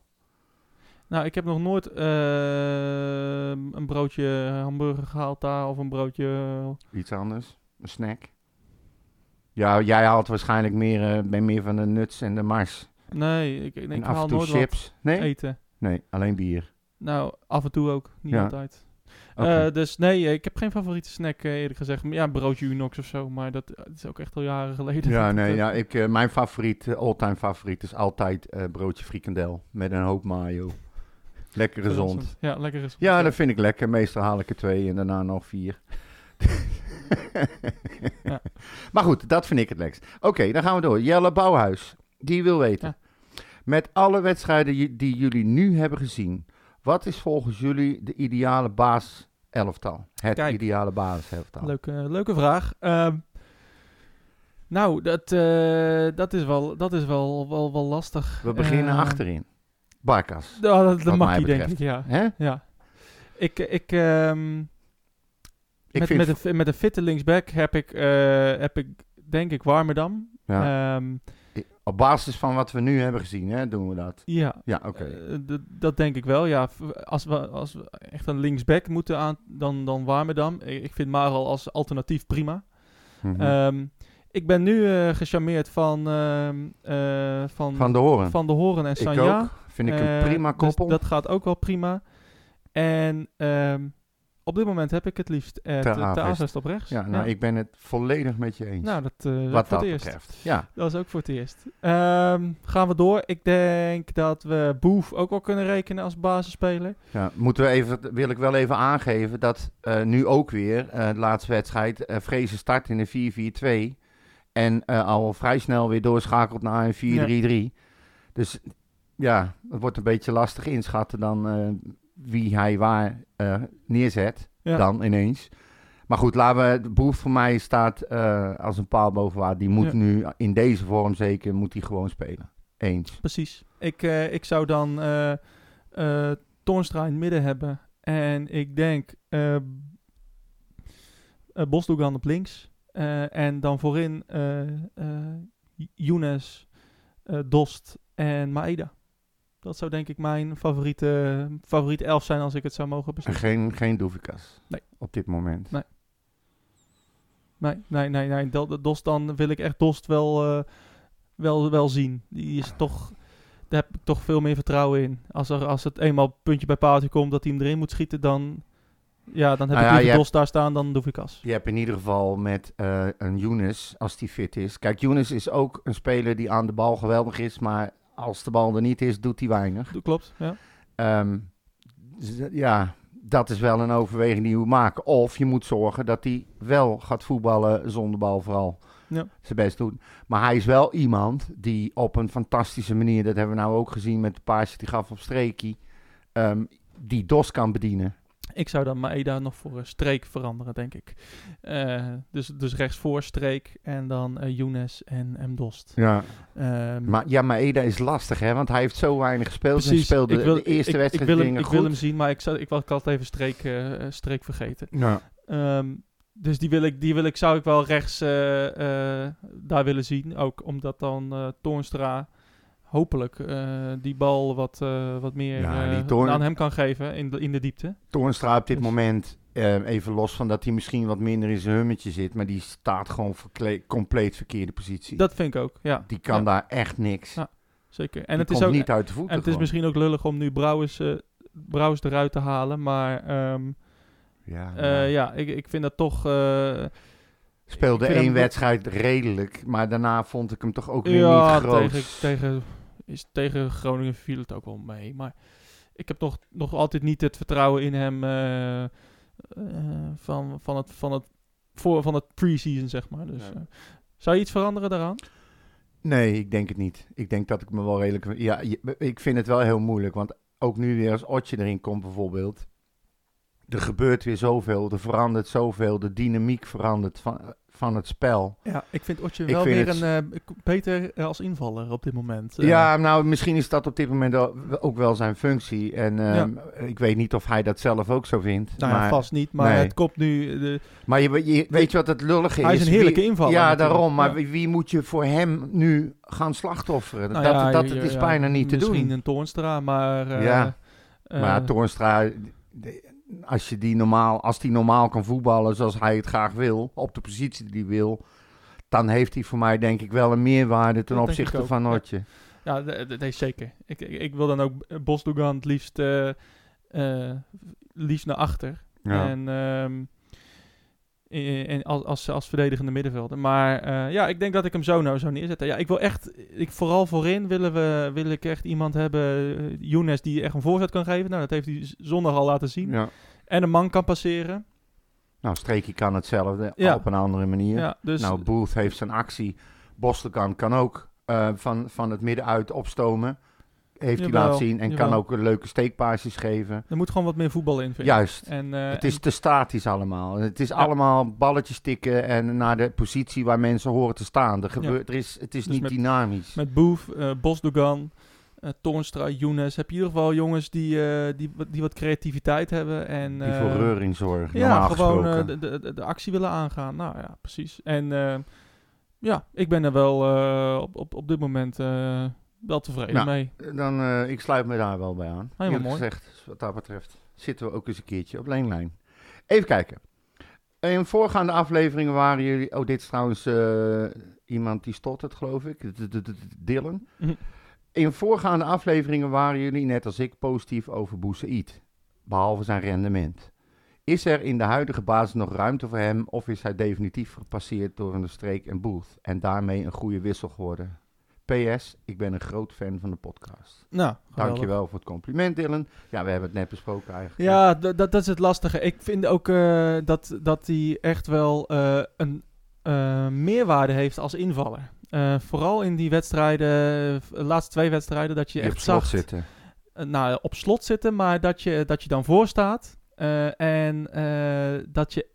Speaker 1: Nou, ik heb nog nooit eh, een broodje hamburger gehaald daar of een broodje...
Speaker 2: Iets anders. Een snack. Ja, jij haalt waarschijnlijk meer, eh, ben meer van de nuts en de mars.
Speaker 1: Nee, ik, ik,
Speaker 2: en
Speaker 1: ik
Speaker 2: af
Speaker 1: haal
Speaker 2: en toe
Speaker 1: nooit
Speaker 2: chips.
Speaker 1: wat
Speaker 2: Nee?
Speaker 1: eten.
Speaker 2: nee, alleen bier.
Speaker 1: Nou, af en toe ook. Niet
Speaker 2: Ja.
Speaker 1: altijd.
Speaker 2: Oké.
Speaker 1: Eh, dus nee, eh, ik heb geen favoriete snack eh, eerlijk gezegd. Ja, een broodje Unox of zo, maar dat, eh, is ook echt al jaren geleden.
Speaker 2: ja, nee,
Speaker 1: Dat-
Speaker 2: ja, ik, eh, mijn favoriet, eh, all-time favoriet is altijd eh, broodje frikandel met een hoop mayo. Lekker gezond.
Speaker 1: Ja, lekker gezond.
Speaker 2: Ja, dat vind ik lekker. Meestal haal ik er twee en daarna nog vier.
Speaker 1: Ja.
Speaker 2: Maar goed, dat vind ik het lekkerst. Oké, dan gaan we door. Jelle Bouwhuis, die wil weten. Met alle wedstrijden ju- die jullie nu hebben gezien, wat is volgens jullie de ideale baas elftal? Het
Speaker 1: Kijk.
Speaker 2: ideale baas elftal.
Speaker 1: Leuke, eh, leuke vraag. Ehm, nou, dat, eh, dat is wel, dat is wel, wel, wel lastig.
Speaker 2: We beginnen
Speaker 1: Eh,
Speaker 2: achterin. Barkas.
Speaker 1: nou, dat
Speaker 2: wat
Speaker 1: dat mag
Speaker 2: mij
Speaker 1: je, denk ik,
Speaker 2: betreft.
Speaker 1: ja.
Speaker 2: Hè?
Speaker 1: ja. Ik, ik, ehm,
Speaker 2: Ik
Speaker 1: met,
Speaker 2: vind
Speaker 1: met, een, fi- met een fitte linksback heb ik, eh, heb ik denk ik, Warmerdam.
Speaker 2: ja,
Speaker 1: Ehm,
Speaker 2: op basis van wat we nu hebben gezien, hè, doen we dat.
Speaker 1: ja.
Speaker 2: Ja, oké.
Speaker 1: Eh, d- dat denk ik wel, ja. V- Als we, als we echt een linksback moeten aan, dan, dan Warmerdam. Ik, ik vind Maral als alternatief prima.
Speaker 2: Mhm.
Speaker 1: Ehm, ik ben nu eh, gecharmeerd van, ehm, eh, van,
Speaker 2: van de horen.
Speaker 1: Van de Horen en
Speaker 2: ik
Speaker 1: Sanja.
Speaker 2: ook. Vind ik
Speaker 1: Eh,
Speaker 2: een prima
Speaker 1: dus
Speaker 2: koppel.
Speaker 1: dat gaat ook wel prima. En ehm, op dit moment heb ik het liefst eh
Speaker 2: Ter
Speaker 1: de
Speaker 2: Avest.
Speaker 1: Avest op rechts.
Speaker 2: ja,
Speaker 1: Ja.
Speaker 2: nou, ik ben het volledig met je eens.
Speaker 1: Nou, dat eh, is ook
Speaker 2: wat
Speaker 1: voor
Speaker 2: dat
Speaker 1: het eerst.
Speaker 2: betreft. Ja,
Speaker 1: Dat is ook voor het eerst. Ehm, gaan we door. Ik denk dat we Boef ook wel kunnen rekenen als basisspeler.
Speaker 2: ja. Moeten we even, wil ik wel even aangeven dat eh, nu ook weer, eh, de laatste wedstrijd, eh Vrezen start in een 4-4-2. En eh, al vrij snel weer doorschakelt naar een 4-3-3. Dus ja, het wordt een beetje lastig inschatten dan eh, wie hij waar eh, neerzet.
Speaker 1: Ja.
Speaker 2: Dan ineens. Maar goed, laten we, de Boef voor mij staat eh, als een paal boven water. Die moet
Speaker 1: Ja.
Speaker 2: nu, in deze vorm zeker, moet hij gewoon spelen. Eens.
Speaker 1: Precies. Ik, eh, ik zou dan eh eh, Toornstra in het midden hebben. En ik denk eh eh, Bosdoegan op links. Eh, en dan voorin eh eh, J- Younes, eh, Dost en Maeda. Dat zou denk ik mijn favoriete, favoriete elf zijn als ik het zou mogen
Speaker 2: En
Speaker 1: beslissen.
Speaker 2: geen, geen Doevikas
Speaker 1: Nee.
Speaker 2: op dit moment.
Speaker 1: Nee. Nee, nee, nee, nee. Del- de Dost dan wil ik echt Dost wel, eh, wel, wel zien. Die is toch, daar heb ik toch veel meer vertrouwen in. Als, er, als het eenmaal puntje bij paaltje komt dat hij hem erin moet schieten, dan, ja, dan heb
Speaker 2: Nou
Speaker 1: ik
Speaker 2: ja,
Speaker 1: liever
Speaker 2: je
Speaker 1: Dost daar staan dan Doefikas.
Speaker 2: Je hebt in ieder geval met eh, een Younes, als die fit is. Kijk, Younes is ook een speler die aan de bal geweldig is, maar als de bal er niet is, doet hij weinig.
Speaker 1: Dat Klopt, ja.
Speaker 2: Ehm, dus dat- ja, dat is wel een overweging die je moet maken. Of je moet zorgen dat hij wel gaat voetballen zonder bal vooral.
Speaker 1: Ja.
Speaker 2: Zijn best doen. Maar hij is wel iemand die op een fantastische manier, dat hebben we nou ook gezien met de paasje die gaf op streekie, ehm, die DOS kan bedienen.
Speaker 1: Ik zou dan Maeda nog voor een streek veranderen, denk ik. Eh, dus, dus rechts voor streek en dan eh Younes en, en Dost.
Speaker 2: Ja.
Speaker 1: Ehm,
Speaker 2: Maar, ja, maar Eda is lastig, hè? Want hij heeft zo weinig gespeeld. en speelde
Speaker 1: Ik wil-
Speaker 2: de eerste
Speaker 1: ik- ik,
Speaker 2: wedstrijd
Speaker 1: wil hem,
Speaker 2: dingen
Speaker 1: ik
Speaker 2: goed.
Speaker 1: wil hem zien, maar ik, zou, ik, was- ik had even streek, eh, eh, streek vergeten.
Speaker 2: Ja.
Speaker 1: Ehm, dus die wil ik, die wil ik, zou ik wel rechts eh, eh, daar willen zien. Ook omdat dan eh Toornstra hopelijk eh, die bal wat, eh, wat meer
Speaker 2: Ja,
Speaker 1: eh,
Speaker 2: die Toorn-
Speaker 1: aan hem kan geven in de, in de diepte.
Speaker 2: Toornstra op dit
Speaker 1: Dus-
Speaker 2: moment, eh, even los van dat hij misschien wat minder in zijn hummetje zit, maar die staat gewoon verkle- compleet verkeerde positie.
Speaker 1: Dat vind ik ook, ja.
Speaker 2: die kan
Speaker 1: ja,
Speaker 2: daar echt niks.
Speaker 1: Ja, Zeker.
Speaker 2: Die
Speaker 1: En het,
Speaker 2: komt
Speaker 1: is ook,
Speaker 2: niet uit de voeten.
Speaker 1: en het is
Speaker 2: gewoon.
Speaker 1: misschien ook lullig om nu Brouwers, eh, Brouwers eruit te halen. Maar ehm,
Speaker 2: Ja,
Speaker 1: eh,
Speaker 2: ja.
Speaker 1: ja, ik, ik vind dat toch... eh,
Speaker 2: Speelde
Speaker 1: ik vind
Speaker 2: één
Speaker 1: hem-
Speaker 2: wedstrijd redelijk, maar daarna vond ik hem toch ook weer
Speaker 1: ja,
Speaker 2: niet groot.
Speaker 1: tegen, tegen, is, tegen Groningen viel het ook wel mee. Maar ik heb nog, nog altijd niet het vertrouwen in hem eh, eh, van, van het, van het, voor, van het pre-season, zeg maar. Dus,
Speaker 6: Nee.
Speaker 1: eh, zou je iets veranderen daaraan?
Speaker 2: Nee, ik denk het niet. Ik denk dat ik me wel redelijk. Ja, je- ik vind het wel heel moeilijk. Want ook nu weer als Otje erin komt, bijvoorbeeld. Er gebeurt weer zoveel. Er verandert zoveel. De dynamiek verandert van, van het spel.
Speaker 1: Ja, ik vind Otje
Speaker 2: Ik
Speaker 1: wel
Speaker 2: vind
Speaker 1: weer
Speaker 2: het-
Speaker 1: een eh, k- beter eh, als invaller op dit moment. Eh,
Speaker 2: Ja, nou, misschien is dat op dit moment wel- ook wel zijn functie. En ehm, ik weet niet of hij dat zelf ook zo vindt.
Speaker 1: nou ja,
Speaker 2: maar
Speaker 1: vast niet, maar
Speaker 2: nee.
Speaker 1: het komt nu... eh, De,
Speaker 2: maar je, je- weet je wat het lullige is?
Speaker 1: Hij is een heerlijke
Speaker 2: Wie-
Speaker 1: invaller
Speaker 2: Ja,
Speaker 1: natuurlijk.
Speaker 2: daarom. Maar
Speaker 1: Ja.
Speaker 2: wie, wie moet je voor hem nu gaan slachtofferen?
Speaker 1: nou
Speaker 2: dat
Speaker 1: ja,
Speaker 2: dat
Speaker 1: je-
Speaker 2: het is
Speaker 1: ja,
Speaker 2: bijna niet te doen.
Speaker 1: Misschien een Toornstra, maar... eh,
Speaker 2: Ja.
Speaker 1: eh,
Speaker 2: maar Toornstra, de- als, je die normaal, als die normaal kan voetballen zoals hij het graag wil, op de positie die hij wil, dan heeft hij voor mij denk ik wel een meerwaarde ten
Speaker 1: Dat denk ik
Speaker 2: opzichte
Speaker 1: ook,
Speaker 2: van
Speaker 1: ja.
Speaker 2: Nortje.
Speaker 1: Ja, de- de- nee, zeker. Ik, ik, ik wil dan ook eh, Bosdogan het liefst, eh, eh, liefst naar achter. En, ehm, i- en als, als, als verdedigende middenvelder. Maar eh, ja, ik denk dat ik hem zo nou zou neerzetten. Ja, ik wil echt, ik, vooral voorin willen we, wil ik echt iemand hebben, eh, Younes, die echt een voorzet kan geven. Nou, dat heeft hij z- zondag al laten zien.
Speaker 2: Ja.
Speaker 1: En een man kan passeren.
Speaker 2: Nou, Streekie kan hetzelfde
Speaker 1: Ja.
Speaker 2: op een andere manier.
Speaker 1: Ja, dus
Speaker 2: nou, Booth heeft zijn actie. Bostelkan kan ook eh, van, van het midden uit opstomen. Heeft hij
Speaker 1: Jawel,
Speaker 2: laten zien. En kan
Speaker 1: jawel.
Speaker 2: ook leuke steekpaasjes geven.
Speaker 1: er moet gewoon wat meer voetbal in, vind ik.
Speaker 2: Juist.
Speaker 1: En, eh,
Speaker 2: Het is te statisch allemaal. Het is allemaal balletjes tikken en naar de positie waar mensen horen te staan. Er gebeurt, er is, het is
Speaker 1: Dus
Speaker 2: niet
Speaker 1: met-
Speaker 2: dynamisch.
Speaker 1: Met Boef, eh Bosdogan, eh Toornstra, Younes. Heb je in ieder geval jongens die, eh, die, wat- die wat creativiteit hebben. En,
Speaker 2: die
Speaker 1: eh,
Speaker 2: voor reuring zorgen.
Speaker 1: Ja,
Speaker 2: normaal
Speaker 1: gewoon eh,
Speaker 2: gesproken.
Speaker 1: de, de, de- de actie willen aangaan. Nou ja, precies. En eh, ja, ik ben er wel eh, op, op, op dit moment eh, wel tevreden
Speaker 2: Nou,
Speaker 1: mee.
Speaker 2: Dan, eh, ik sluit me daar wel bij aan.
Speaker 1: Helemaal
Speaker 2: Eerlijk
Speaker 1: Oh, mooi.
Speaker 2: gezegd, wat dat betreft, zitten we ook eens een keertje op leenlijn. Even kijken. In voorgaande afleveringen waren jullie... Oh, dit is trouwens eh, iemand die stottert, geloof ik. D- d- d- d- Dylan.
Speaker 1: Mhm.
Speaker 2: In voorgaande afleveringen waren jullie, net als ik, positief over Boussaïd. Behalve zijn rendement. Is er in de huidige basis nog ruimte voor hem... of is hij definitief gepasseerd door een streek en Booth... en daarmee een goede wissel geworden? PS, ik ben een groot fan van de podcast.
Speaker 1: Nou, geweldig.
Speaker 2: Dankjewel voor het compliment, Dylan. Ja, we hebben het net besproken eigenlijk.
Speaker 1: Ja, d- dat, dat is het lastige. Ik vind ook eh, dat, dat hij echt wel eh, een eh, meerwaarde heeft als invaller. Eh, vooral in die wedstrijden, de laatste twee wedstrijden, dat je,
Speaker 2: je
Speaker 1: echt
Speaker 2: hebt slot
Speaker 1: zag
Speaker 2: zitten.
Speaker 1: eh, nou, op slot zitten, maar dat je, dat je dan voor staat. eh, en eh, dat je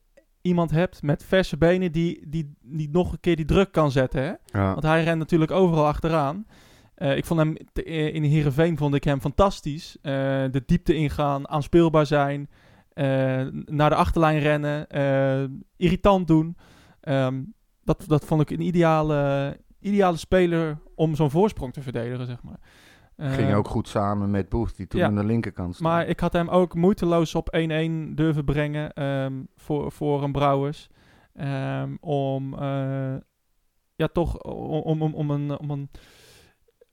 Speaker 1: iemand hebt met verse benen die, die, die nog een keer die druk kan zetten. Hè?
Speaker 2: Ja.
Speaker 1: Want hij rent natuurlijk overal achteraan. Eh, ik vond hem te- eh, in Heerenveen vond ik hem fantastisch. Eh, de diepte ingaan, aanspeelbaar zijn, eh, naar de achterlijn rennen, eh, irritant doen. Ehm, dat, dat vond ik een ideale, ideale speler om zo'n voorsprong te verdedigen, zeg maar. Eh,
Speaker 2: Ging ook goed samen met Boef, die toen
Speaker 1: ja.
Speaker 2: aan de linkerkant stond.
Speaker 1: maar ik had hem ook moeiteloos op 1-1 durven brengen ehm, voor, voor een Brouwers. Ehm, om, eh, ja, toch o- om, om, om, een, om een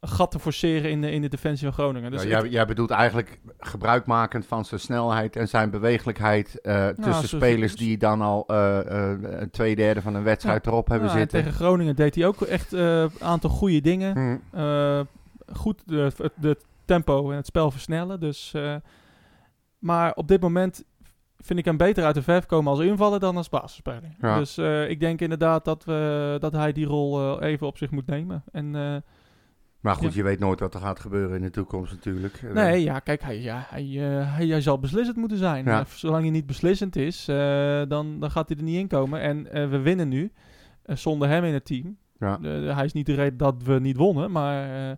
Speaker 1: gat te forceren in de, in de defensie van Groningen. Dus
Speaker 2: Ja,
Speaker 1: ik-
Speaker 2: jij, jij bedoelt eigenlijk gebruikmakend van zijn snelheid en zijn bewegelijkheid eh, tussen
Speaker 1: zo-
Speaker 2: spelers
Speaker 1: zo-
Speaker 2: die dan al eh, eh, een twee derde van een wedstrijd erop hebben
Speaker 1: ja, en
Speaker 2: zitten.
Speaker 1: tegen Groningen deed hij ook echt eh, een aantal goede dingen.
Speaker 2: Hm.
Speaker 1: Eh, goed de, het- het tempo en het spel versnellen. Dus, eh, maar op dit moment vind ik hem beter uit de verf komen als invaller dan als basisspeler.
Speaker 2: Ja.
Speaker 1: Dus eh, ik denk inderdaad dat, we, dat hij die rol eh, even op zich moet nemen. En, eh,
Speaker 2: Maar goed,
Speaker 1: Ja.
Speaker 2: je weet nooit wat er gaat gebeuren in de toekomst natuurlijk. Eh,
Speaker 1: nee, ja, kijk, hij, ja, hij, eh, hij, hij zal beslissend moeten zijn.
Speaker 2: Ja.
Speaker 1: Maar zolang hij niet beslissend is, eh, dan, dan gaat hij er niet in komen. En eh, we winnen nu eh, zonder hem in het team.
Speaker 2: Ja.
Speaker 1: Eh, hij is niet de reden dat we niet wonnen, maar eh,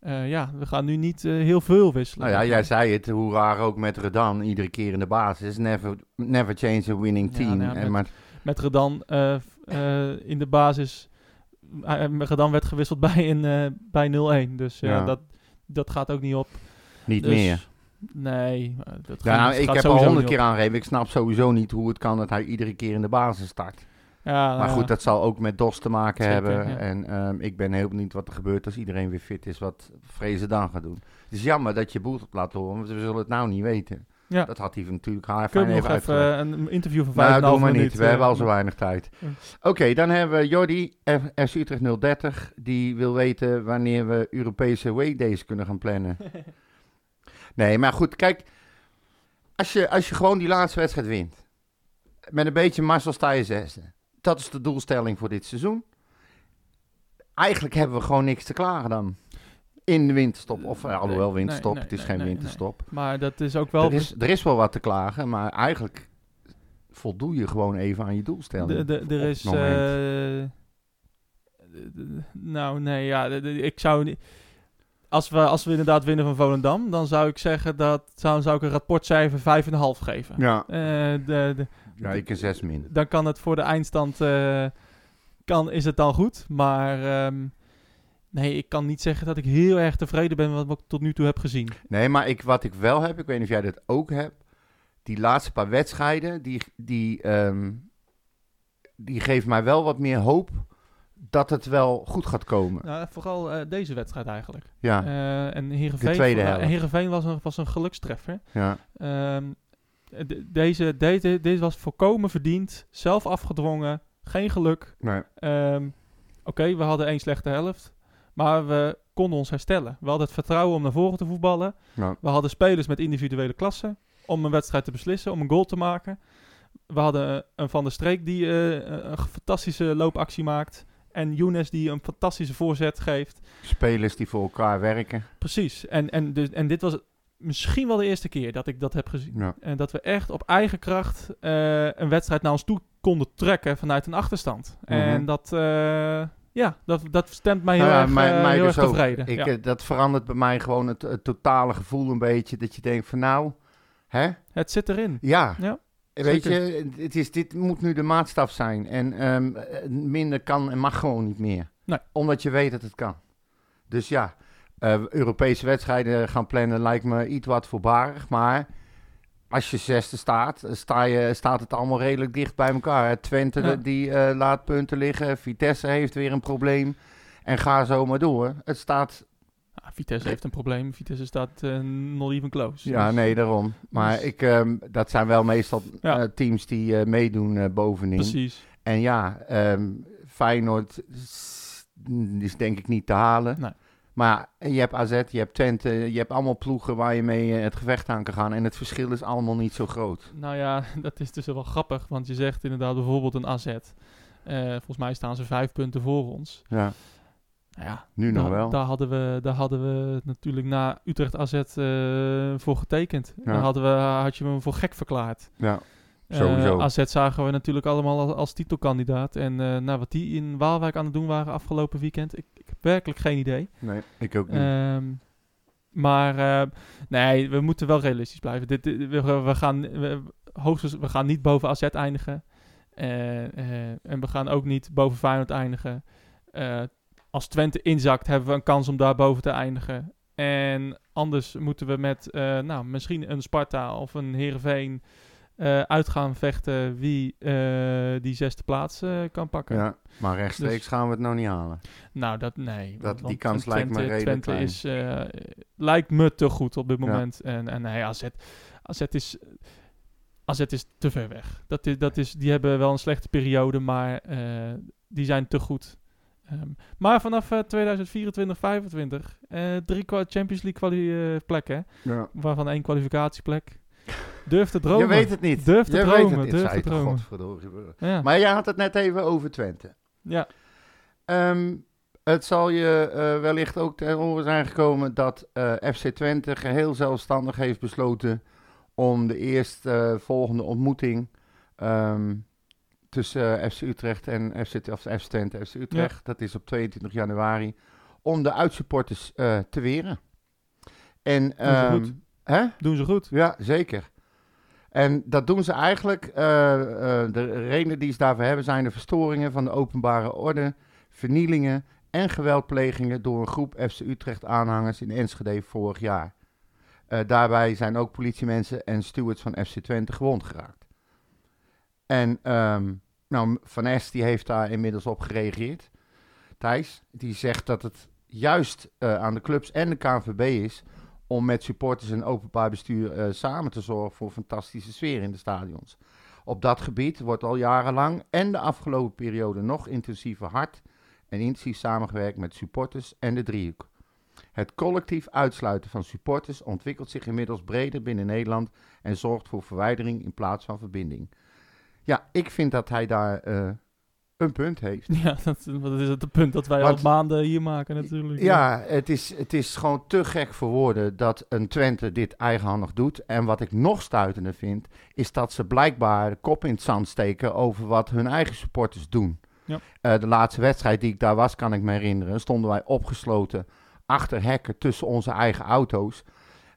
Speaker 1: eh, ja, we gaan nu niet eh, heel veel wisselen.
Speaker 2: Nou ja, jij zei het, hoe raar ook met Redan, iedere keer in de basis. Never, never change a winning
Speaker 1: Ja,
Speaker 2: team.
Speaker 1: nou ja,
Speaker 2: En
Speaker 1: met-
Speaker 2: maar,
Speaker 1: met Redan eh, f- eh, in de basis. eh, Redan werd gewisseld bij, een, eh, bij 0-1. Dus eh,
Speaker 2: Ja.
Speaker 1: dat, dat gaat ook niet op.
Speaker 2: niet
Speaker 1: Dus-
Speaker 2: meer.
Speaker 1: Nee, eh, dat gaat,
Speaker 2: Ja, nou,
Speaker 1: dat
Speaker 2: ik
Speaker 1: gaat
Speaker 2: heb
Speaker 1: sowieso
Speaker 2: al honderd
Speaker 1: niet
Speaker 2: keer
Speaker 1: op.
Speaker 2: aangegeven, ik snap sowieso niet hoe het kan dat hij iedere keer in de basis start.
Speaker 1: Ja,
Speaker 2: Maar
Speaker 1: nou
Speaker 2: goed, dat zal ook met DOS te maken
Speaker 1: Zeker,
Speaker 2: hebben.
Speaker 1: ja.
Speaker 2: En ehm, ik ben heel benieuwd wat er gebeurt als iedereen weer fit is, wat Vrezen dan gaat doen. Het is jammer dat je Boelt hebt laten horen, want we zullen het nou niet weten.
Speaker 1: Ja.
Speaker 2: Dat had hij natuurlijk haar fijn
Speaker 1: Kunnen we
Speaker 2: even
Speaker 1: nog even
Speaker 2: uitgelegd.
Speaker 1: eh, een interview van
Speaker 2: Nou,
Speaker 1: 5,5
Speaker 2: doe maar
Speaker 1: minuut,
Speaker 2: niet. We
Speaker 1: eh,
Speaker 2: hebben al zo weinig tijd.
Speaker 1: Ja.
Speaker 2: Oké, dan hebben we Jordi, F- FC Utrecht 030. Die wil weten wanneer we Europese weekdays kunnen gaan plannen. nee, maar goed, kijk. Als je, als je gewoon die laatste wedstrijd wint. Met een beetje mazzel sta je zesde. Dat is de doelstelling voor dit seizoen. Eigenlijk hebben we gewoon niks te klagen dan. In de winterstop. Of eh, alhoewel
Speaker 1: Nee, nee,
Speaker 2: winterstop.
Speaker 1: nee,
Speaker 2: het is
Speaker 1: nee,
Speaker 2: geen
Speaker 1: nee, nee.
Speaker 2: winterstop.
Speaker 1: Maar dat is ook wel...
Speaker 2: Er, is, er is wel wat te klagen, maar eigenlijk voldoe je gewoon even aan je
Speaker 1: de-
Speaker 2: doelstelling.
Speaker 1: de- er
Speaker 2: op
Speaker 1: is...
Speaker 2: het moment.
Speaker 1: eh, de- de- nou, nee, ja, de- de- ik zou niet... Als we, als we inderdaad winnen van Volendam, dan zou ik zeggen dat... Zou, zou ik een rapportcijfer 5,5 geven.
Speaker 2: ja.
Speaker 1: Eh, de, de,
Speaker 2: ja, ik een zes min.
Speaker 1: dan kan het voor de eindstand eh, kan, is het dan goed. Maar ehm, nee, ik kan niet zeggen dat ik heel erg tevreden ben met wat ik tot nu toe heb gezien.
Speaker 2: Nee, maar ik, wat ik wel heb, ik weet niet of jij dat ook hebt. Die laatste paar wedstrijden, die, die, ehm, die geven mij wel wat meer hoop dat het wel goed gaat komen.
Speaker 1: Nou, vooral eh, deze wedstrijd eigenlijk.
Speaker 2: Ja,
Speaker 1: Eh, en Heerenveen,
Speaker 2: Ah. De tweede
Speaker 1: eh,
Speaker 2: helft.
Speaker 1: Heerenveen was een, was een gelukstreffer.
Speaker 2: ja.
Speaker 1: Ehm, de- deze, deze, deze was volkomen verdiend, zelf afgedwongen, geen geluk.
Speaker 2: Nee.
Speaker 1: Ehm, Oké, we hadden één slechte helft, maar we konden ons herstellen. We hadden het vertrouwen om naar voren te voetballen.
Speaker 2: Nou,
Speaker 1: We hadden spelers met individuele klassen om een wedstrijd te beslissen, om een goal te maken. We hadden eh, een Van der Streek die eh, een fantastische loopactie maakt. En Younes die een fantastische voorzet geeft.
Speaker 2: spelers die voor elkaar werken.
Speaker 1: Precies. En, en, dus, en dit was misschien wel de eerste keer dat ik dat heb gezien.
Speaker 2: Ja.
Speaker 1: En dat we echt op eigen kracht eh, een wedstrijd naar ons toe konden trekken vanuit een achterstand.
Speaker 2: Mhm.
Speaker 1: En dat, eh, ja, dat, dat stemt mij heel
Speaker 2: Nou ja,
Speaker 1: erg,
Speaker 2: mij-
Speaker 1: eh,
Speaker 2: mij
Speaker 1: heel
Speaker 2: dus
Speaker 1: erg
Speaker 2: ook.
Speaker 1: tevreden.
Speaker 2: Ik,
Speaker 1: Ja.
Speaker 2: eh, Dat verandert bij mij gewoon het, het totale gevoel een beetje. Dat je denkt van nou, hè?
Speaker 1: Het zit erin.
Speaker 2: Ja.
Speaker 1: Ja,
Speaker 2: Weet
Speaker 1: zeker.
Speaker 2: je, het is, dit moet nu de maatstaf zijn. En ehm, eh, minder kan en mag gewoon niet meer.
Speaker 1: Nee.
Speaker 2: Omdat je weet dat het kan. Dus ja, eh, Europese wedstrijden gaan plannen lijkt me iets wat voorbarig. Maar als je zesde staat, eh, sta je, staat het allemaal redelijk dicht bij elkaar. hè. Twente
Speaker 1: Ja.
Speaker 2: die eh, laat punten liggen. Vitesse heeft weer een probleem. En ga zo maar door. Het staat
Speaker 1: Ah, Vitesse heeft een probleem. Vitesse staat eh, not even close.
Speaker 2: Ja,
Speaker 1: Dus-
Speaker 2: nee, daarom. Maar
Speaker 1: dus-
Speaker 2: ik, ehm, dat zijn wel meestal
Speaker 1: Ja.
Speaker 2: eh, teams die eh, meedoen eh, bovenin.
Speaker 1: Precies.
Speaker 2: En ja, ehm, Feyenoord s- is denk ik niet te halen.
Speaker 1: Nee.
Speaker 2: Maar je hebt AZ, je hebt Twente, je hebt allemaal ploegen waar je mee eh, het gevecht aan kan gaan. En het verschil is allemaal niet zo groot.
Speaker 1: Nou ja, dat is dus wel grappig. Want je zegt inderdaad bijvoorbeeld een AZ. Eh, volgens mij staan ze vijf punten voor ons.
Speaker 2: Ja,
Speaker 1: Nou ja,
Speaker 2: nu nog
Speaker 1: daar-
Speaker 2: wel.
Speaker 1: Daar hadden, we, daar hadden we natuurlijk na Utrecht AZ eh, voor getekend.
Speaker 2: Ja.
Speaker 1: Daar hadden we, had je me voor gek verklaard.
Speaker 2: ja.
Speaker 1: Eh,
Speaker 2: Sowieso.
Speaker 1: AZ zagen we natuurlijk allemaal als, als titelkandidaat. En eh, nou, wat die in Waalwijk aan het doen waren afgelopen weekend, ik, ik heb werkelijk geen idee.
Speaker 2: Nee, ik ook niet.
Speaker 1: Ehm, maar eh, nee, we moeten wel realistisch blijven. Dit, dit- we, we gaan, we, hoogstens, we gaan niet boven AZ eindigen. Eh, eh, en we gaan ook niet boven Feyenoord eindigen. Eh, als Twente inzakt, hebben we een kans om daar boven te eindigen. En anders moeten we met eh, nou, misschien een Sparta of een Heerenveen eh uit gaan vechten wie eh, die zesde plaats eh, kan pakken.
Speaker 2: ja, maar rechtstreeks
Speaker 1: Dus-
Speaker 2: gaan we het nou niet halen.
Speaker 1: Nou, dat nee.
Speaker 2: Dat- die kans lijkt me redelijk
Speaker 1: Twente is, eh, lijkt me te goed op dit
Speaker 2: Ja.
Speaker 1: moment. En, en nee, AZ, AZ is... AZ is te ver weg. Dat is, dat is, die hebben wel een slechte periode, maar eh, die zijn te goed. Ehm, maar vanaf eh, 2024, 25 eh, drie kwa- Champions League kwali- eh, plekken,
Speaker 2: Ja.
Speaker 1: waarvan één kwalificatieplek. Durf te dromen.
Speaker 2: Je weet het niet.
Speaker 1: Durf te
Speaker 2: je
Speaker 1: dromen,
Speaker 2: Weet het
Speaker 1: durf
Speaker 2: niet. Zij
Speaker 1: te
Speaker 2: het,
Speaker 1: dromen.
Speaker 2: godverdorie.
Speaker 1: Ja.
Speaker 2: Maar jij had het net even over Twente.
Speaker 1: ja.
Speaker 2: Ehm, het zal je eh, wellicht ook ter oren zijn gekomen dat eh, FC Twente geheel zelfstandig heeft besloten om de eerstvolgende volgende ontmoeting ehm, tussen eh, FC Utrecht en FC, T- of FC Twente FC Utrecht, dat is op 22 januari, om de uitsupporters eh, te weren. En,
Speaker 1: is
Speaker 2: ehm,
Speaker 1: goed.
Speaker 2: Hè?
Speaker 1: Doen ze goed.
Speaker 2: Ja, zeker. En dat doen ze eigenlijk. eh, eh, de redenen die ze daarvoor hebben zijn de verstoringen van de openbare orde, vernielingen en geweldplegingen door een groep FC Utrecht aanhangers in Enschede vorig jaar. Eh, daarbij zijn ook politiemensen en stewards van FC Twente gewond geraakt. En ehm, nou, Van Es die heeft daar inmiddels op gereageerd. Thijs, die zegt dat het juist eh, aan de clubs en de KNVB is om met supporters en openbaar bestuur eh, samen te zorgen voor een fantastische sfeer in de stadions. Op dat gebied wordt al jarenlang en de afgelopen periode nog intensiever hard en intensief samengewerkt met supporters en de driehoek. Het collectief uitsluiten van supporters ontwikkelt zich inmiddels breder binnen Nederland en zorgt voor verwijdering in plaats van verbinding. Ja, ik vind dat hij daar eh, een punt heeft.
Speaker 1: Ja, dat, dat is het punt dat wij
Speaker 2: Want-
Speaker 1: al maanden hier maken natuurlijk.
Speaker 2: Ja, het is, het is gewoon te gek voor woorden dat een Twente dit eigenhandig doet. En wat ik nog stuitender vind, is dat ze blijkbaar de kop in het zand steken over wat hun eigen supporters doen.
Speaker 1: Ja.
Speaker 2: Eh, de laatste wedstrijd die ik daar was, kan ik me herinneren, stonden wij opgesloten achter hekken tussen onze eigen auto's.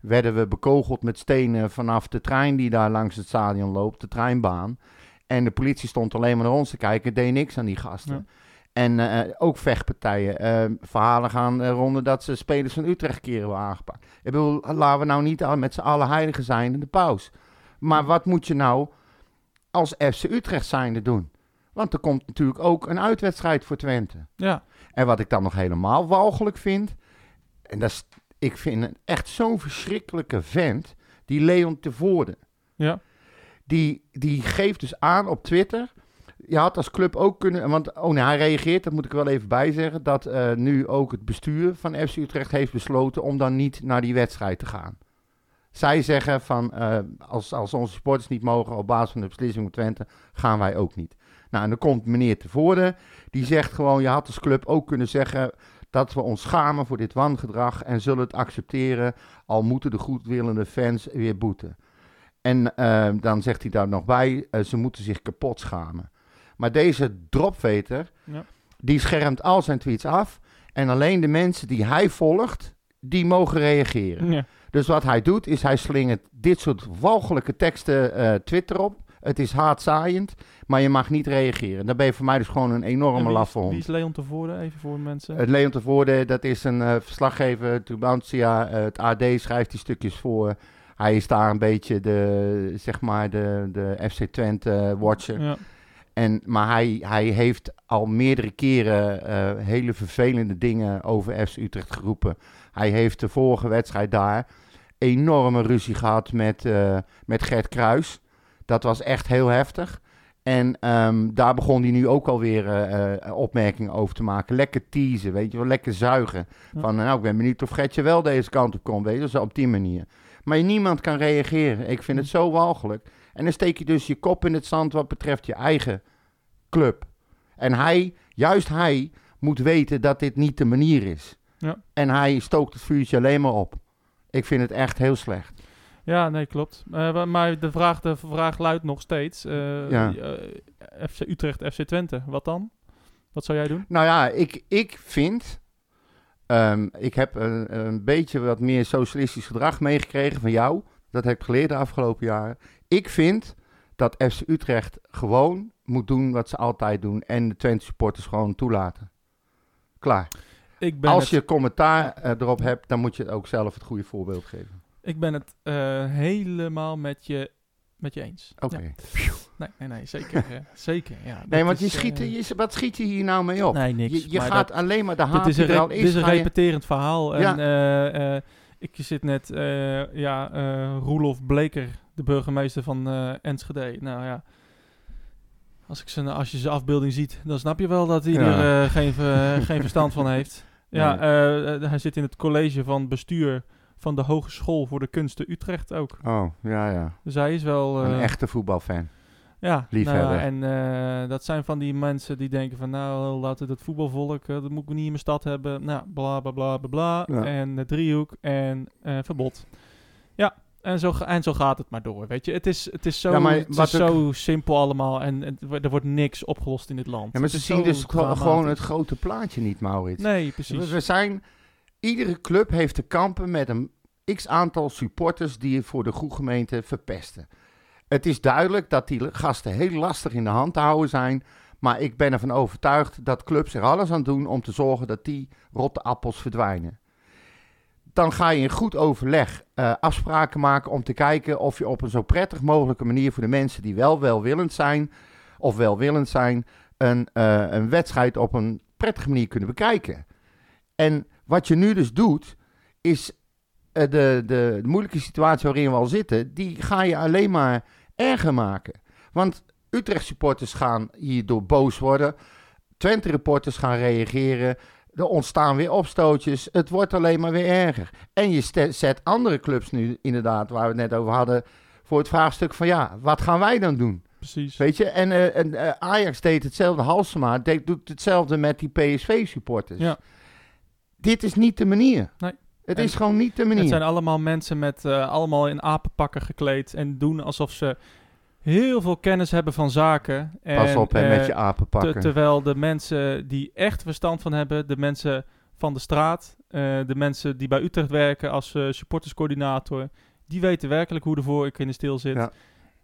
Speaker 2: Werden we bekogeld met stenen vanaf de trein die daar langs het stadion loopt, de treinbaan. En de politie stond alleen maar naar ons te kijken, deed niks aan die gasten.
Speaker 1: Ja.
Speaker 2: En eh, ook vechtpartijen. Eh, verhalen gaan eh, ronden dat ze spelers van Utrecht keren hebben aangepakt. Ik bedoel, laten we nou niet al- met z'n allen heiligen zijn in de paus. Maar wat moet je nou als FC Utrecht zijnde doen? Want er komt natuurlijk ook een uitwedstrijd voor Twente.
Speaker 1: Ja,
Speaker 2: En wat ik dan nog helemaal walgelijk vind. En dat is, ik vind het echt zo'n verschrikkelijke vent. Die Leon Tevoorde.
Speaker 1: ja.
Speaker 2: Die, die geeft dus aan op Twitter. Je had als club ook kunnen. Want oh nee, hij reageert, dat moet ik er wel even bij zeggen. Dat eh, nu ook het bestuur van FC Utrecht heeft besloten om dan niet naar die wedstrijd te gaan. Zij zeggen van eh, als, als onze supporters niet mogen op basis van de beslissing van Twente, gaan wij ook niet. Nou, en dan komt meneer Tevoorde. Die zegt gewoon: je had als club ook kunnen zeggen dat we ons schamen voor dit wangedrag en zullen het accepteren, al moeten de goedwillende fans weer boeten. En eh, dan zegt hij daar nog bij, eh, ze moeten zich kapot schamen. Maar deze dropveter,
Speaker 1: Ja.
Speaker 2: die schermt al zijn tweets af. En alleen de mensen die hij volgt, die mogen reageren.
Speaker 1: ja.
Speaker 2: Dus wat hij doet, is hij slingert dit soort walgelijke teksten eh, Twitter op. Het is haatzaaiend, maar je mag niet reageren. Dan ben je voor mij dus gewoon een
Speaker 1: En
Speaker 2: enorme
Speaker 1: wie is-
Speaker 2: laffe
Speaker 1: Wie
Speaker 2: hond. Eh,
Speaker 1: is Leon tevoren, even voor mensen?
Speaker 2: Het Leon de Voorde, dat is een eh, verslaggever, Tubantia, eh, het AD schrijft die stukjes voor. Hij is daar een beetje de, zeg maar, de, de FC Twente-watcher.
Speaker 1: ja.
Speaker 2: En, maar hij, hij heeft al meerdere keren eh, hele vervelende dingen over FC Utrecht geroepen. Hij heeft de vorige wedstrijd daar enorme ruzie gehad met, eh, met Gert Kruis. Dat was echt heel heftig. En ehm, daar begon hij nu ook alweer eh, eh, opmerkingen over te maken. Lekker teasen, weet je wel, lekker zuigen.
Speaker 1: Ja.
Speaker 2: Van nou, ik ben benieuwd of Gertje wel deze kant op komt, weet je wel, zo op die manier. Maar niemand kan reageren. Ik vind het zo walgelijk. En dan steek je dus je kop in het zand wat betreft je eigen club. En hij, juist hij, moet weten dat dit niet de manier is.
Speaker 1: Ja.
Speaker 2: En hij stookt het vuurtje alleen maar op. Ik vind het echt heel slecht.
Speaker 1: Ja, nee, klopt. Eh, wa- maar de vraag, de vraag luidt nog steeds. eh,
Speaker 2: Ja.
Speaker 1: eh, FC Utrecht, FC Twente, wat dan? Wat zou jij doen?
Speaker 2: Nou ja, ik, ik vind. ehm, ik heb een, een beetje wat meer socialistisch gedrag meegekregen van jou. Dat heb ik geleerd de afgelopen jaren. Ik vind dat FC Utrecht gewoon moet doen wat ze altijd doen. En de Twente supporters gewoon toelaten. Klaar.
Speaker 1: Ik ben
Speaker 2: Als
Speaker 1: het,
Speaker 2: je commentaar eh, erop hebt, dan moet je het ook zelf het goede voorbeeld geven.
Speaker 1: ik ben het eh, helemaal met je, met je eens.
Speaker 2: Oké.
Speaker 1: Ja. Nee, nee, nee, zeker. eh, zeker, ja.
Speaker 2: Nee,
Speaker 1: Dat
Speaker 2: want je
Speaker 1: is,
Speaker 2: schiet,
Speaker 1: eh,
Speaker 2: je, wat schiet je hier nou mee op?
Speaker 1: Nee, niks.
Speaker 2: je je
Speaker 1: maar
Speaker 2: gaat
Speaker 1: dat-
Speaker 2: alleen maar de haat
Speaker 1: Dit is een,
Speaker 2: die er
Speaker 1: re-
Speaker 2: al
Speaker 1: dit is een
Speaker 2: ga je-
Speaker 1: repeterend verhaal. En,
Speaker 2: Ja.
Speaker 1: eh, eh, ik zit net, eh, ja, eh Roelof Bleker, de burgemeester van eh, Enschede. Nou ja, als, ik zijn, als je zijn afbeelding ziet, dan snap je wel dat hij
Speaker 2: Ja.
Speaker 1: er eh, geen, ver- geen verstand van heeft. Ja, eh, eh, hij zit in het college van bestuur van de Hogeschool voor de Kunsten Utrecht ook.
Speaker 2: Oh, ja, ja.
Speaker 1: Dus hij is wel...
Speaker 2: Een
Speaker 1: eh,
Speaker 2: echte voetbalfan.
Speaker 1: ja,
Speaker 2: Liefhebber.
Speaker 1: nou ja, en eh, dat zijn van die mensen die denken van nou laten dat voetbalvolk, eh, dat moet ik niet in mijn stad hebben. Nou, bla bla bla bla bla.
Speaker 2: Ja.
Speaker 1: En de driehoek en eh, verbod. Ja, en zo, ga- en zo gaat het maar door. Weet je, het is, het is zo,
Speaker 2: Ja, maar
Speaker 1: het is
Speaker 2: wat ook-
Speaker 1: zo simpel allemaal en, en het wo- er wordt niks opgelost in dit land.
Speaker 2: Ja, maar
Speaker 1: Het
Speaker 2: ze
Speaker 1: is
Speaker 2: zien
Speaker 1: zo
Speaker 2: dus gro- gewoon het
Speaker 1: dramatisch.
Speaker 2: grote plaatje niet, Maurits.
Speaker 1: Nee,
Speaker 2: we,
Speaker 1: precies.
Speaker 2: we zijn... Iedere club heeft te kampen met een x-aantal supporters die het voor de goede gemeente verpesten. Het is duidelijk dat die gasten heel lastig in de hand te houden zijn. Maar ik ben ervan overtuigd dat clubs er alles aan doen om te zorgen dat die rotte appels verdwijnen. Dan ga je in goed overleg eh, afspraken maken om te kijken of je op een zo prettig mogelijke manier voor de mensen die wel welwillend zijn, of welwillend zijn, een, eh, een wedstrijd op een prettige manier kunnen bekijken. En wat je nu dus doet, is eh, de, de, de moeilijke situatie waarin we al zitten, die ga je alleen maar erger maken. Want Utrecht supporters gaan hierdoor boos worden. Twente reporters gaan reageren. Er ontstaan weer opstootjes. Het wordt alleen maar weer erger. En je ste- zet andere clubs nu inderdaad, waar we het net over hadden, voor het vraagstuk van ja, wat gaan wij dan doen?
Speaker 1: precies.
Speaker 2: Weet je, en, eh, en eh, Ajax deed hetzelfde, Halsema deed, doet hetzelfde met die PSV-supporters.
Speaker 1: Ja.
Speaker 2: Dit is niet de manier.
Speaker 1: Nee.
Speaker 2: Het
Speaker 1: En-
Speaker 2: is gewoon niet de
Speaker 1: Het
Speaker 2: manier.
Speaker 1: zijn allemaal mensen met eh, allemaal in apenpakken gekleed en doen alsof ze heel veel kennis hebben van zaken. En,
Speaker 2: Pas op hè,
Speaker 1: eh,
Speaker 2: met je apenpakken.
Speaker 1: Te- terwijl de mensen die echt verstand van hebben, de mensen van de straat, eh, de mensen die bij Utrecht werken als eh, supporterscoördinator, die weten werkelijk hoe de vork in de steel zit.
Speaker 2: Ja.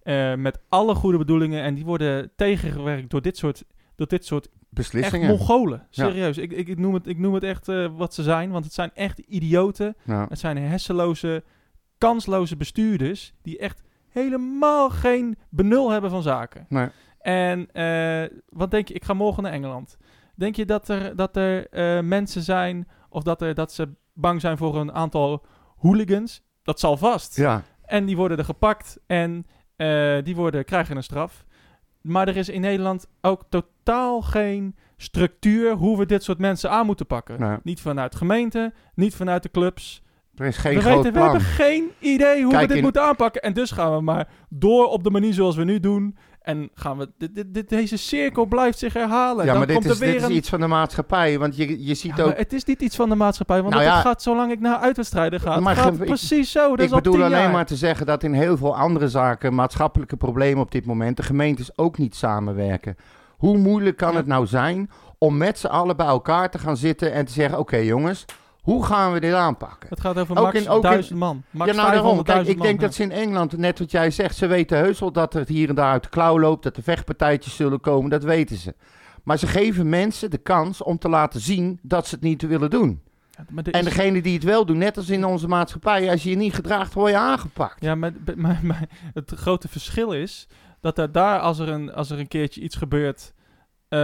Speaker 1: Eh, met alle goede bedoelingen en die worden tegengewerkt door dit soort, door dit soort echt
Speaker 2: Beslissingen.
Speaker 1: mongolen.
Speaker 2: Ja.
Speaker 1: Serieus, ik, ik, ik, noem het, ik noem het echt eh, wat ze zijn, want het zijn echt idioten.
Speaker 2: Ja.
Speaker 1: Het zijn hersenloze, kansloze bestuurders die echt helemaal geen benul hebben van zaken.
Speaker 2: Nee.
Speaker 1: En eh, wat denk je, ik ga morgen naar Engeland. Denk je dat er, dat er eh, mensen zijn of dat, er, dat ze bang zijn voor een aantal hooligans? Dat zal vast.
Speaker 2: Ja.
Speaker 1: En die worden er gepakt en eh, die worden, krijgen een straf. Maar er is in Nederland ook totaal geen structuur hoe we dit soort mensen aan moeten pakken.
Speaker 2: Nee.
Speaker 1: Niet vanuit gemeenten, niet vanuit de clubs.
Speaker 2: nou, Er is geen
Speaker 1: We,
Speaker 2: groot
Speaker 1: weten, we
Speaker 2: plan.
Speaker 1: hebben geen idee hoe we
Speaker 2: Kijk,
Speaker 1: dit
Speaker 2: in-
Speaker 1: moeten aanpakken. En dus gaan we maar door op de manier zoals we nu doen. En gaan we. Dit, dit, dit- deze cirkel blijft zich herhalen.
Speaker 2: Ja,
Speaker 1: Dan
Speaker 2: maar dit
Speaker 1: komt
Speaker 2: is,
Speaker 1: er weer
Speaker 2: dit is
Speaker 1: een...
Speaker 2: iets van de maatschappij. Want je, je
Speaker 1: Ja,
Speaker 2: ziet
Speaker 1: maar
Speaker 2: ook...
Speaker 1: het is niet iets van de maatschappij. Want
Speaker 2: Nou
Speaker 1: het
Speaker 2: ja.
Speaker 1: gaat zolang ik naar uitwedstrijden ga. Het
Speaker 2: Maar
Speaker 1: gaat
Speaker 2: ge- ik-
Speaker 1: precies zo. Oh, Dat
Speaker 2: Ik
Speaker 1: is al
Speaker 2: bedoel
Speaker 1: tien
Speaker 2: alleen
Speaker 1: jaar.
Speaker 2: maar te zeggen dat in heel veel andere zaken, maatschappelijke problemen op dit moment, de gemeentes ook niet samenwerken. Hoe moeilijk kan
Speaker 1: Ja.
Speaker 2: het nou zijn om met z'n allen bij elkaar te gaan zitten en te zeggen: Oké jongens, hoe gaan we dit aanpakken?
Speaker 1: Het gaat over
Speaker 2: Ook
Speaker 1: max
Speaker 2: in- ook in-
Speaker 1: duizend man. Max
Speaker 2: ja, nou daarom.
Speaker 1: 500.000
Speaker 2: Kijk, ik
Speaker 1: man,
Speaker 2: denk
Speaker 1: ja.
Speaker 2: dat ze in Engeland, net wat jij zegt, ze weten heus wel dat het hier en daar uit de klauw loopt, dat er vechtpartijtjes zullen komen, dat weten ze. Maar ze geven mensen de kans om te laten zien dat ze het niet willen doen.
Speaker 1: Ja, maar er
Speaker 2: En
Speaker 1: is-
Speaker 2: degene die het wel doen, net als in onze maatschappij, als je je niet gedraagt, word je aangepakt.
Speaker 1: Ja, maar, maar, maar het grote verschil is dat er daar, als er een, als er een keertje iets gebeurt, eh,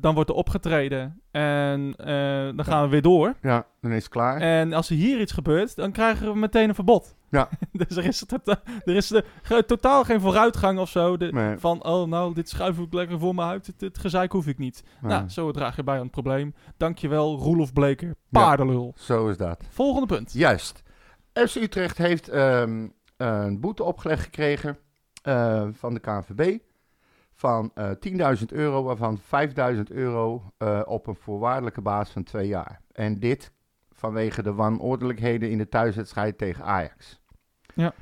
Speaker 1: dan wordt er opgetreden en eh, dan gaan we weer door.
Speaker 2: Ja, dan is het klaar.
Speaker 1: En als er hier iets gebeurt, dan krijgen we meteen een verbod.
Speaker 2: Ja.
Speaker 1: dus er is, tota- er is de, ge- totaal geen vooruitgang of zo. De-
Speaker 2: Nee.
Speaker 1: Van, oh nou, dit schuif ik lekker voor me uit, dit, dit gezeik hoef ik niet.
Speaker 2: Ja,
Speaker 1: Nou, zo draag je bij aan het probleem. Dankjewel, Roelof Bleker, paardenlul.
Speaker 2: Zo is dat.
Speaker 1: Volgende punt.
Speaker 2: Juist. FC Utrecht heeft ehm, een boete opgelegd gekregen eh, van de KNVB van eh, 10.000 euro, waarvan 5.000 euro eh, op een voorwaardelijke basis van twee jaar. En dit vanwege de wanordelijkheden in de thuiswedstrijd tegen Ajax.
Speaker 1: Ja.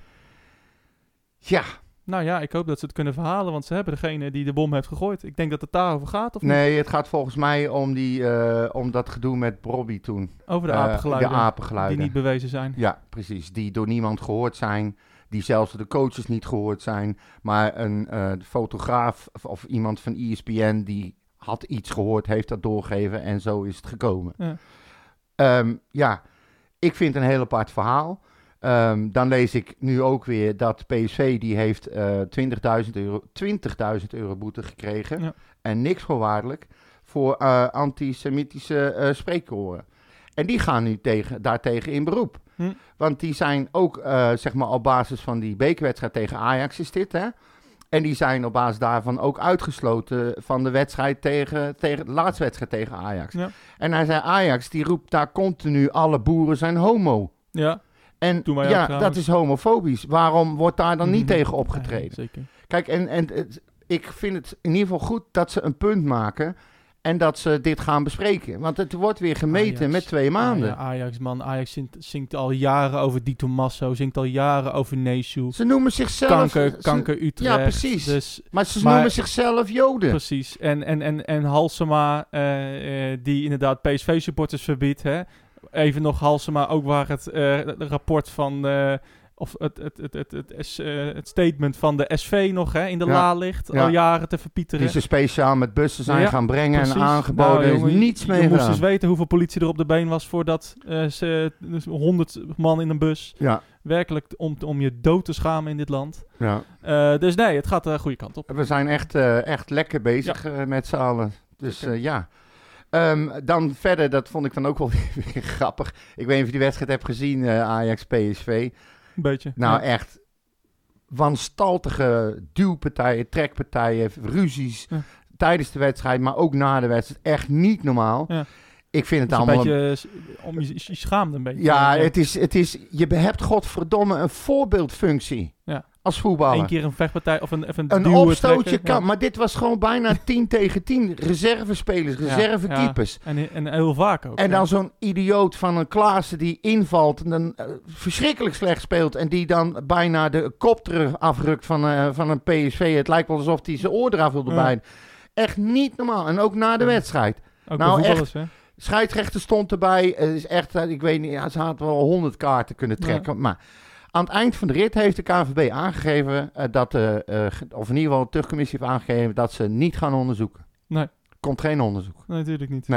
Speaker 2: Ja,
Speaker 1: Nou ja, ik hoop dat ze het kunnen verhalen, want ze hebben degene die de bom heeft gegooid. Ik denk dat het daarover gaat, of
Speaker 2: nee, het gaat volgens mij om, die, eh, om dat gedoe met Bobby toen.
Speaker 1: niet? Over de
Speaker 2: Eh,
Speaker 1: apengeluiden
Speaker 2: De apengeluiden.
Speaker 1: die niet bewezen zijn.
Speaker 2: Ja, precies. Die door niemand gehoord zijn. Die zelfs door de coaches niet gehoord zijn. Maar een eh, fotograaf of, of iemand van E ESPN die had iets gehoord, heeft dat doorgegeven en zo is het gekomen.
Speaker 1: Ja.
Speaker 2: Ehm, ja, ik vind het een heel apart verhaal. Ehm, dan lees ik nu ook weer dat PSV die heeft eh 20.000 euro, 20.000 euro boete gekregen.
Speaker 1: Ja.
Speaker 2: En niks voorwaardelijk voor eh, antisemitische eh spreekkoren. En die gaan nu tegen, daartegen in beroep.
Speaker 1: Hm.
Speaker 2: Want die zijn ook, eh, zeg maar, op basis van die bekerwedstrijd tegen Ajax is dit, hè? En die zijn op basis daarvan ook uitgesloten van de wedstrijd tegen, tegen de laatste wedstrijd tegen Ajax.
Speaker 1: Ja.
Speaker 2: En hij zei, Ajax, die roept daar continu, alle boeren zijn homo.
Speaker 1: Ja,
Speaker 2: En
Speaker 1: Doe maar ook
Speaker 2: ja,
Speaker 1: trouwens.
Speaker 2: dat is homofobisch. Waarom wordt daar dan niet
Speaker 1: Mhm.
Speaker 2: tegen
Speaker 1: Nee,
Speaker 2: opgetreden?
Speaker 1: zeker.
Speaker 2: Kijk, en, en het- ik vind het in ieder geval goed dat ze een punt maken en dat ze dit gaan bespreken. Want het wordt weer gemeten
Speaker 1: Ajax.
Speaker 2: met twee maanden.
Speaker 1: Ah ja, Ajax, man. Ajax zingt, zingt al jaren over Di Tommaso, zingt al jaren over Nesu.
Speaker 2: Ze noemen zichzelf...
Speaker 1: Kanker,
Speaker 2: ze-
Speaker 1: kanker Utrecht.
Speaker 2: Ja, precies.
Speaker 1: Dus
Speaker 2: Maar ze
Speaker 1: Maar-
Speaker 2: noemen zichzelf Joden.
Speaker 1: Precies. En, en, en, en Halsema, eh, eh, die inderdaad PSV-supporters verbiedt. Hè? Even nog Halsema, ook waar het eh, het rapport van... eh, of het, het, het, het, het, S- eh, het statement van de SV nog hè, in de
Speaker 2: Ja.
Speaker 1: la ligt.
Speaker 2: Ja.
Speaker 1: Al jaren te
Speaker 2: Die
Speaker 1: verpieteren.
Speaker 2: ze speciaal met bussen zijn
Speaker 1: Ja,
Speaker 2: gaan brengen en
Speaker 1: Precies.
Speaker 2: aangeboden.
Speaker 1: Nou,
Speaker 2: Er
Speaker 1: jongen,
Speaker 2: is niets eh.
Speaker 1: Je
Speaker 2: mee
Speaker 1: moest dus eens
Speaker 2: gedaan.
Speaker 1: weten hoeveel politie er op de been was... voordat eh, ze dus 100 man in een bus...
Speaker 2: Ja,
Speaker 1: werkelijk om, om je dood te schamen in dit land.
Speaker 2: ja.
Speaker 1: Eh, dus nee, het gaat de goede kant op.
Speaker 2: We zijn echt, eh, echt lekker bezig eh, met z'n allen. Dus eh, ja. Ehm, dan verder, dat vond ik dan ook wel weer grappig. Ik weet niet of je die wedstrijd hebt gezien, eh, Ajax-PSV.
Speaker 1: Een beetje.
Speaker 2: Nou,
Speaker 1: Ja.
Speaker 2: echt wanstaltige duwpartijen, trekpartijen, ruzies
Speaker 1: Ja.
Speaker 2: tijdens de wedstrijd, maar ook na de wedstrijd. Echt niet normaal.
Speaker 1: Ja.
Speaker 2: Ik vind het
Speaker 1: Het is
Speaker 2: allemaal...
Speaker 1: een beetje, eh, s- om je, je schaamt een beetje.
Speaker 2: Ja,
Speaker 1: Eh,
Speaker 2: het is, het is, je hebt godverdomme een voorbeeldfunctie
Speaker 1: Ja.
Speaker 2: als voetballer.
Speaker 1: Eén keer een vechtpartij of een, even een,
Speaker 2: een
Speaker 1: duwen
Speaker 2: opstootje
Speaker 1: trekken.
Speaker 2: kan,
Speaker 1: Ja.
Speaker 2: maar dit was gewoon bijna 10 tegen 10. Reservespelers,
Speaker 1: Ja,
Speaker 2: reservekeepers.
Speaker 1: En, en heel vaak ook.
Speaker 2: En
Speaker 1: ja.
Speaker 2: dan zo'n idioot van een Klaassen die invalt en dan eh, verschrikkelijk slecht speelt. En die dan bijna de kop terug afrukt van, eh, van een PSV. Het lijkt wel alsof hij zijn oor eraf wilde
Speaker 1: Ja.
Speaker 2: bijten. Echt niet normaal. En ook na de
Speaker 1: Ja.
Speaker 2: wedstrijd.
Speaker 1: Ook
Speaker 2: nou,
Speaker 1: bij voetballers, hè.
Speaker 2: Scheidsrechter stond erbij. Het is echt, eh, ik weet niet, ja, ze had wel honderd kaarten kunnen trekken. Maar aan het eind van de rit heeft de KNVB aangegeven eh, dat, de, eh, ge- of in ieder geval de terugcommissie heeft aangegeven dat ze niet gaan onderzoeken.
Speaker 1: Nee.
Speaker 2: Komt geen onderzoek.
Speaker 1: Nee, natuurlijk niet.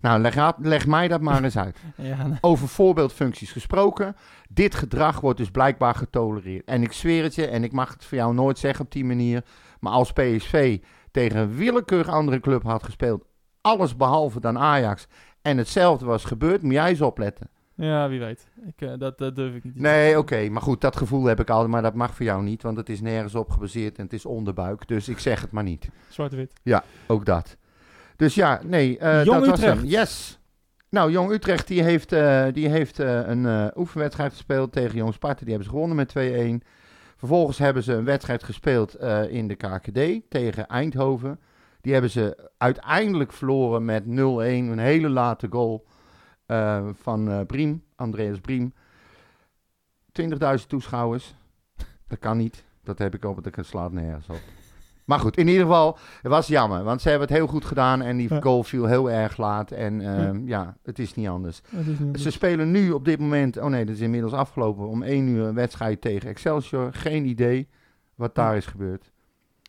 Speaker 2: Nou, leg, uit- leg mij dat maar eens uit.
Speaker 1: Ja, nee.
Speaker 2: Over voorbeeldfuncties gesproken. Dit gedrag wordt dus blijkbaar getolereerd. En ik zweer het je, en ik mag het voor jou nooit zeggen op die manier. Maar als PSV tegen een willekeurig andere club had gespeeld, alles behalve dan Ajax. En hetzelfde was gebeurd, moet jij eens opletten.
Speaker 1: ja wie weet. Ik, eh, dat, dat durf ik niet. te
Speaker 2: Nee, oké, maar goed, dat gevoel heb ik al, maar dat mag voor jou niet, want het is nergens op gebaseerd en het is onderbuik. Dus ik zeg het maar niet.
Speaker 1: zeggen. Zwart-wit.
Speaker 2: Ook dat. Dus ja, nee, eh,
Speaker 1: Jong
Speaker 2: dat was hem.
Speaker 1: Utrecht.
Speaker 2: Yes. Nou, Jong Utrecht die heeft, eh, die heeft eh, een eh, oefenwedstrijd gespeeld tegen Jong Sparta. Die hebben ze gewonnen met 2-1. Vervolgens hebben ze een wedstrijd gespeeld eh, in de KKD tegen Eindhoven. Die hebben ze uiteindelijk verloren met 0-1. Een hele late goal eh, van eh, Briem, Andreas Briem. 20.000 toeschouwers. Dat kan niet. Dat heb ik op, dat slaat nergens op. Maar goed, in ieder geval, het was jammer. Want ze hebben het heel goed gedaan en die
Speaker 1: Ja.
Speaker 2: goal viel heel erg laat. En ehm, ja, het is niet anders.
Speaker 1: Dat is niet
Speaker 2: Ze spelen nu op dit moment, oh nee, dat is inmiddels afgelopen, om één uur een wedstrijd tegen Excelsior. Geen idee wat daar is gebeurd,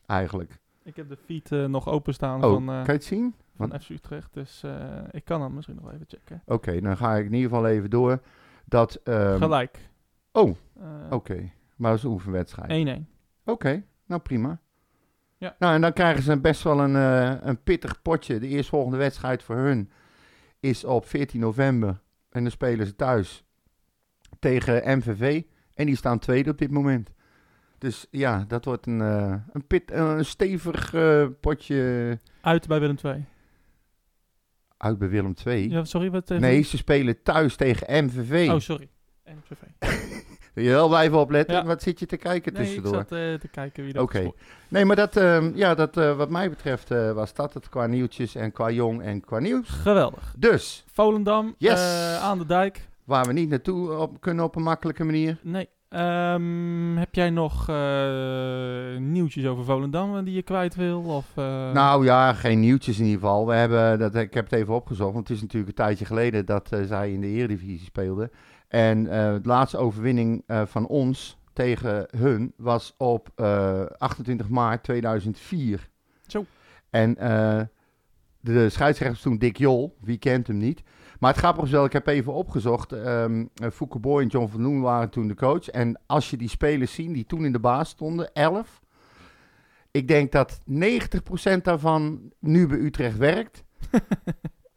Speaker 2: eigenlijk.
Speaker 1: ik heb de feed eh, nog openstaan
Speaker 2: Oh,
Speaker 1: van, eh,
Speaker 2: kan je het zien?
Speaker 1: van FC Utrecht. Dus eh, ik kan hem misschien nog even checken.
Speaker 2: Oké, dan ga ik in ieder geval even door. Dat, ehm,
Speaker 1: Gelijk.
Speaker 2: oh,
Speaker 1: Eh,
Speaker 2: oké, maar dat is een oefenwedstrijd.
Speaker 1: 1-1.
Speaker 2: Oké, nou prima.
Speaker 1: Ja.
Speaker 2: Nou, en dan krijgen ze best wel een, eh, een pittig potje. De eerstvolgende wedstrijd voor hun is op 14 november. En dan spelen ze thuis tegen MVV. En die staan tweede op dit moment. Dus ja, dat wordt een, eh, een, pit, een stevig eh, potje
Speaker 1: Uit bij Willem 2.
Speaker 2: uit bij Willem II.
Speaker 1: Ja, sorry, wat eh,
Speaker 2: nee, ze spelen thuis tegen MVV.
Speaker 1: Oh, sorry. NPV.
Speaker 2: Wil je wel blijven opletten?
Speaker 1: Ja.
Speaker 2: Wat zit je te kijken
Speaker 1: Nee, ik
Speaker 2: tussendoor?
Speaker 1: zat eh, te kijken wie dat
Speaker 2: Oké.
Speaker 1: is.
Speaker 2: Nee, maar dat, ehm, ja, dat eh, wat mij betreft eh, was dat het qua nieuwtjes en qua jong en qua nieuws.
Speaker 1: Geweldig.
Speaker 2: Dus,
Speaker 1: Volendam,
Speaker 2: Yes.
Speaker 1: eh, aan de dijk.
Speaker 2: waar we niet naartoe op, kunnen op een makkelijke manier.
Speaker 1: Nee, Ehm, heb jij nog eh, nieuwtjes over Volendam eh, die je kwijt wil? Of, eh,
Speaker 2: Nou ja, geen nieuwtjes in ieder geval. We hebben dat, ik heb het even opgezocht, want het is natuurlijk een tijdje geleden dat eh, zij in de Eredivisie speelden. En eh de laatste overwinning eh, van ons tegen hun was op eh, 28 maart 2004.
Speaker 1: Zo.
Speaker 2: En eh, de scheidsrechter was toen Dick Jol, wie kent hem niet. Maar het grappige is wel, ik heb even opgezocht, ehm eh, Fouke Boy en John van Loen waren toen de coach. En als je die spelers ziet die toen in de baas stonden, 11, ik denk dat 90% daarvan nu bij Utrecht werkt.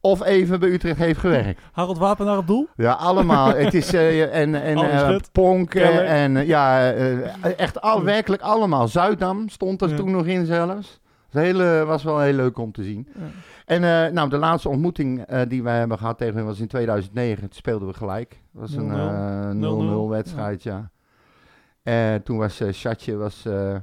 Speaker 2: of even bij Utrecht heeft gewerkt.
Speaker 1: Harold Wapen naar het doel?
Speaker 2: Ja, allemaal. het is eh, en, en
Speaker 1: Alles
Speaker 2: eh,
Speaker 1: goed.
Speaker 2: Ponk eh,
Speaker 1: Keller.
Speaker 2: en eh, ja, eh, echt al, werkelijk allemaal. Zuidam stond er
Speaker 1: Ja.
Speaker 2: toen nog in zelfs. Het hele, was wel heel leuk om te zien.
Speaker 1: Ja.
Speaker 2: En eh, nou, de laatste ontmoeting eh, die wij hebben gehad tegen hen was in 2009. Toen speelden we gelijk. Het was een
Speaker 1: 0-0.
Speaker 2: eh, 0-0
Speaker 1: 0-0,
Speaker 2: wedstrijd, ja. Eh, toen was eh Chatje, was, eh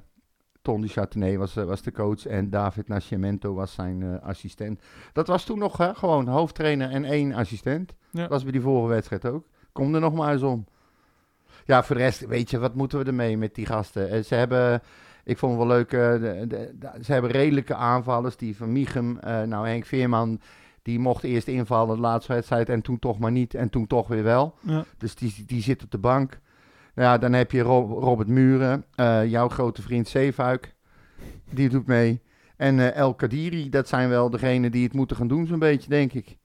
Speaker 2: Ton de Chardonnay was, eh, was de coach. En David Nascimento was zijn eh, assistent. Dat was toen nog hè, gewoon hoofdtrainer en één assistent.
Speaker 1: Ja.
Speaker 2: Dat was bij die vorige wedstrijd ook. Kom er nog maar eens om. Ja, voor de rest, weet je, wat moeten we ermee met die gasten? Eh, ze hebben, ik vond het wel leuk, eh, de- de- de- ze hebben redelijke aanvallers. Die van Michem, eh, nou Henk Veerman, die mocht eerst invallen de laatste wedstrijd. En toen toch maar niet, en toen toch weer wel.
Speaker 1: Ja.
Speaker 2: Dus die, die zit op de bank. Nou ja, dan heb je Ro- Robert Muren, eh, jouw grote vriend Zeefuik. Die doet mee. En eh, El Kadiri, dat zijn wel degenen die het moeten gaan doen, zo'n beetje, denk ik.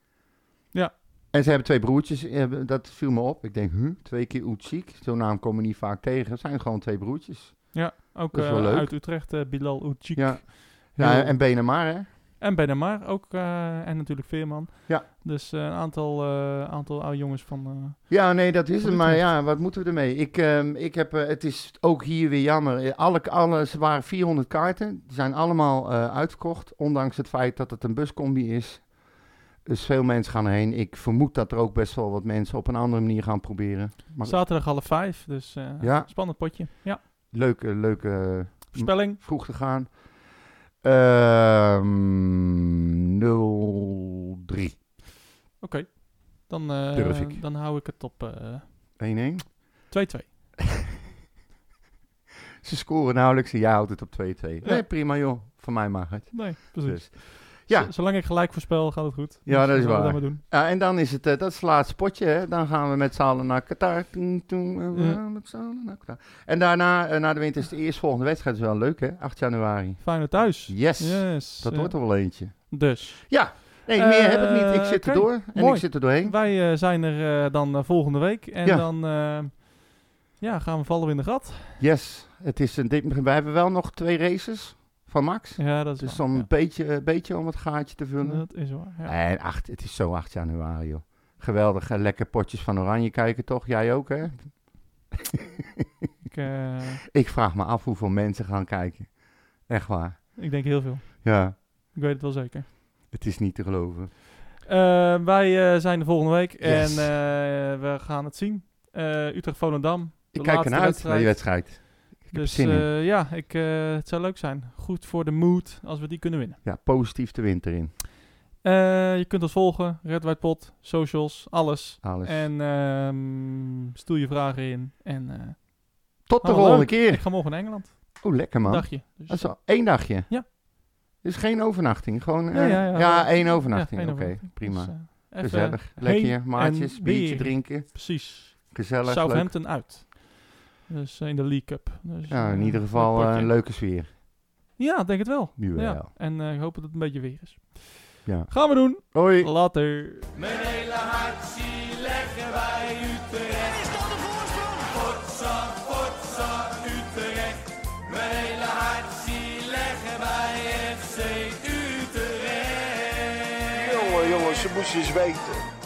Speaker 1: Ja.
Speaker 2: En ze hebben twee broertjes, eh, dat viel me op. Ik denk, huh, twee keer Oetziek. Zo'n naam kom je niet vaak tegen. Het zijn gewoon twee broertjes.
Speaker 1: Ook
Speaker 2: Dat is wel
Speaker 1: eh,
Speaker 2: leuk.
Speaker 1: uit Utrecht, eh, Bilal Oudjik.
Speaker 2: Ja. Ja,
Speaker 1: Heel-
Speaker 2: en Benamar, hè?
Speaker 1: En Benamar ook. eh, en natuurlijk Veerman.
Speaker 2: Ja.
Speaker 1: Dus eh, een aantal, eh aantal oude jongens van... eh,
Speaker 2: Ja, nee, dat
Speaker 1: Voor
Speaker 2: is het.
Speaker 1: dit
Speaker 2: Maar
Speaker 1: moment.
Speaker 2: ja, wat moeten we ermee? Ik, ehm, ik heb, eh, het is ook hier weer jammer. Eh, Alle, alle, ze waren 400 kaarten. Die zijn allemaal eh, uitverkocht. Ondanks het feit dat het een buscombi is. Dus veel mensen gaan erheen. Ik vermoed dat er ook best wel wat mensen op een andere manier gaan proberen. Maar
Speaker 1: zaterdag half vijf. Dus eh,
Speaker 2: Ja.
Speaker 1: spannend potje. Ja.
Speaker 2: leuke, leuke
Speaker 1: Voorspelling.
Speaker 2: vroeg te gaan. Ehm 0-3.
Speaker 1: Oké. Dan, eh,
Speaker 2: Durf ik.
Speaker 1: dan hou ik het op eh,
Speaker 2: 1-1.
Speaker 1: 2-2.
Speaker 2: Ze scoren nauwelijks en jij houdt het op 2-2. Nee,
Speaker 1: Ja.
Speaker 2: prima joh. Van mij mag het.
Speaker 1: nee, precies.
Speaker 2: Dus. Ja.
Speaker 1: Z- zolang ik gelijk voorspel, gaat het goed.
Speaker 2: Ja, dat is
Speaker 1: laten we
Speaker 2: waar.
Speaker 1: Dat maar doen.
Speaker 2: Ja, en dan is het, eh, dat is het laatste potje, hè. Dan gaan we met z'n allen naar Qatar. Toen, toen, eh, we
Speaker 1: Ja.
Speaker 2: gaan met z'n allen naar Qatar. En daarna, eh, na de winter, is de eerstvolgende wedstrijd. Dat is wel leuk, hè? 8 januari.
Speaker 1: Feyenoord thuis.
Speaker 2: Yes,
Speaker 1: Yes.
Speaker 2: dat
Speaker 1: eh,
Speaker 2: wordt er wel eentje.
Speaker 1: Dus,
Speaker 2: Nee, meer
Speaker 1: Eh,
Speaker 2: heb ik niet. Ik zit
Speaker 1: oké.
Speaker 2: er door en
Speaker 1: Mooi.
Speaker 2: ik zit er doorheen.
Speaker 1: wij eh, zijn er eh, dan eh, volgende week. En
Speaker 2: Ja.
Speaker 1: dan eh, ja, gaan we vallen in de gat.
Speaker 2: Yes, het is een, dik- wij hebben wel nog twee races van Max.
Speaker 1: Ja, dat is
Speaker 2: Dus
Speaker 1: waar.
Speaker 2: om
Speaker 1: ja.
Speaker 2: een beetje, een beetje om het gaatje te vullen.
Speaker 1: Dat is waar. Ja.
Speaker 2: En acht, het is zo 8 januari, joh. Geweldig, eh, lekker potjes van Oranje kijken, toch? Jij ook, hè?
Speaker 1: Ik, eh,
Speaker 2: Ik vraag me af hoeveel mensen gaan kijken. Echt waar.
Speaker 1: ik denk heel veel.
Speaker 2: Ja.
Speaker 1: Ik weet het wel zeker.
Speaker 2: Het is niet te geloven.
Speaker 1: Eh, wij eh, zijn er volgende week en
Speaker 2: Yes.
Speaker 1: eh, we gaan het zien. Eh, Utrecht-Volendam.
Speaker 2: Ik
Speaker 1: De
Speaker 2: kijk
Speaker 1: laatste
Speaker 2: ernaar uit naar
Speaker 1: wedstrijd.
Speaker 2: die wedstrijd. Ik heb er
Speaker 1: Dus
Speaker 2: zin in.
Speaker 1: eh, ja, ik, eh, het zou leuk zijn. Goed voor de mood als we die kunnen winnen.
Speaker 2: Ja, positief de winter in.
Speaker 1: Eh, je kunt ons volgen. Red White Pot, socials, alles.
Speaker 2: Alles.
Speaker 1: En ehm stel je vragen in. En eh,
Speaker 2: Tot de
Speaker 1: oh,
Speaker 2: volgende
Speaker 1: leuk.
Speaker 2: keer.
Speaker 1: ik ga morgen naar Engeland.
Speaker 2: Oh, lekker man.
Speaker 1: Dagje. Dus,
Speaker 2: Dat is al één dagje.
Speaker 1: Ja.
Speaker 2: Dus geen overnachting. Gewoon. eh,
Speaker 1: Ja,
Speaker 2: ja,
Speaker 1: ja, ja.
Speaker 2: één overnachting.
Speaker 1: Ja, één
Speaker 2: Oké,
Speaker 1: overnachting.
Speaker 2: prima.
Speaker 1: dus, eh, even-
Speaker 2: Gezellig. Lekker.
Speaker 1: heen
Speaker 2: Maatjes.
Speaker 1: en
Speaker 2: Biertje
Speaker 1: weer.
Speaker 2: drinken.
Speaker 1: Precies.
Speaker 2: Gezellig. leuk.
Speaker 1: Southampton uit. Dus eh, in de League Cup. Dus,
Speaker 2: Ja, in
Speaker 1: eh,
Speaker 2: ieder geval
Speaker 1: leuk
Speaker 2: eh,
Speaker 1: potje.
Speaker 2: een leuke sfeer.
Speaker 1: Ja, denk het wel.
Speaker 2: Jawel.
Speaker 1: Ja. En eh, ik hoop dat het een beetje weer is.
Speaker 2: Ja.
Speaker 1: Gaan we doen.
Speaker 2: Hoi.
Speaker 1: Later.
Speaker 3: Mijn hele hart zie leggen wij Utrecht. Is dat de voorsprong? Potsa, potsa, Utrecht. Mijn hele hart zie leggen wij FC Utrecht.
Speaker 4: Jongen, jongens, ze moesten eens weten.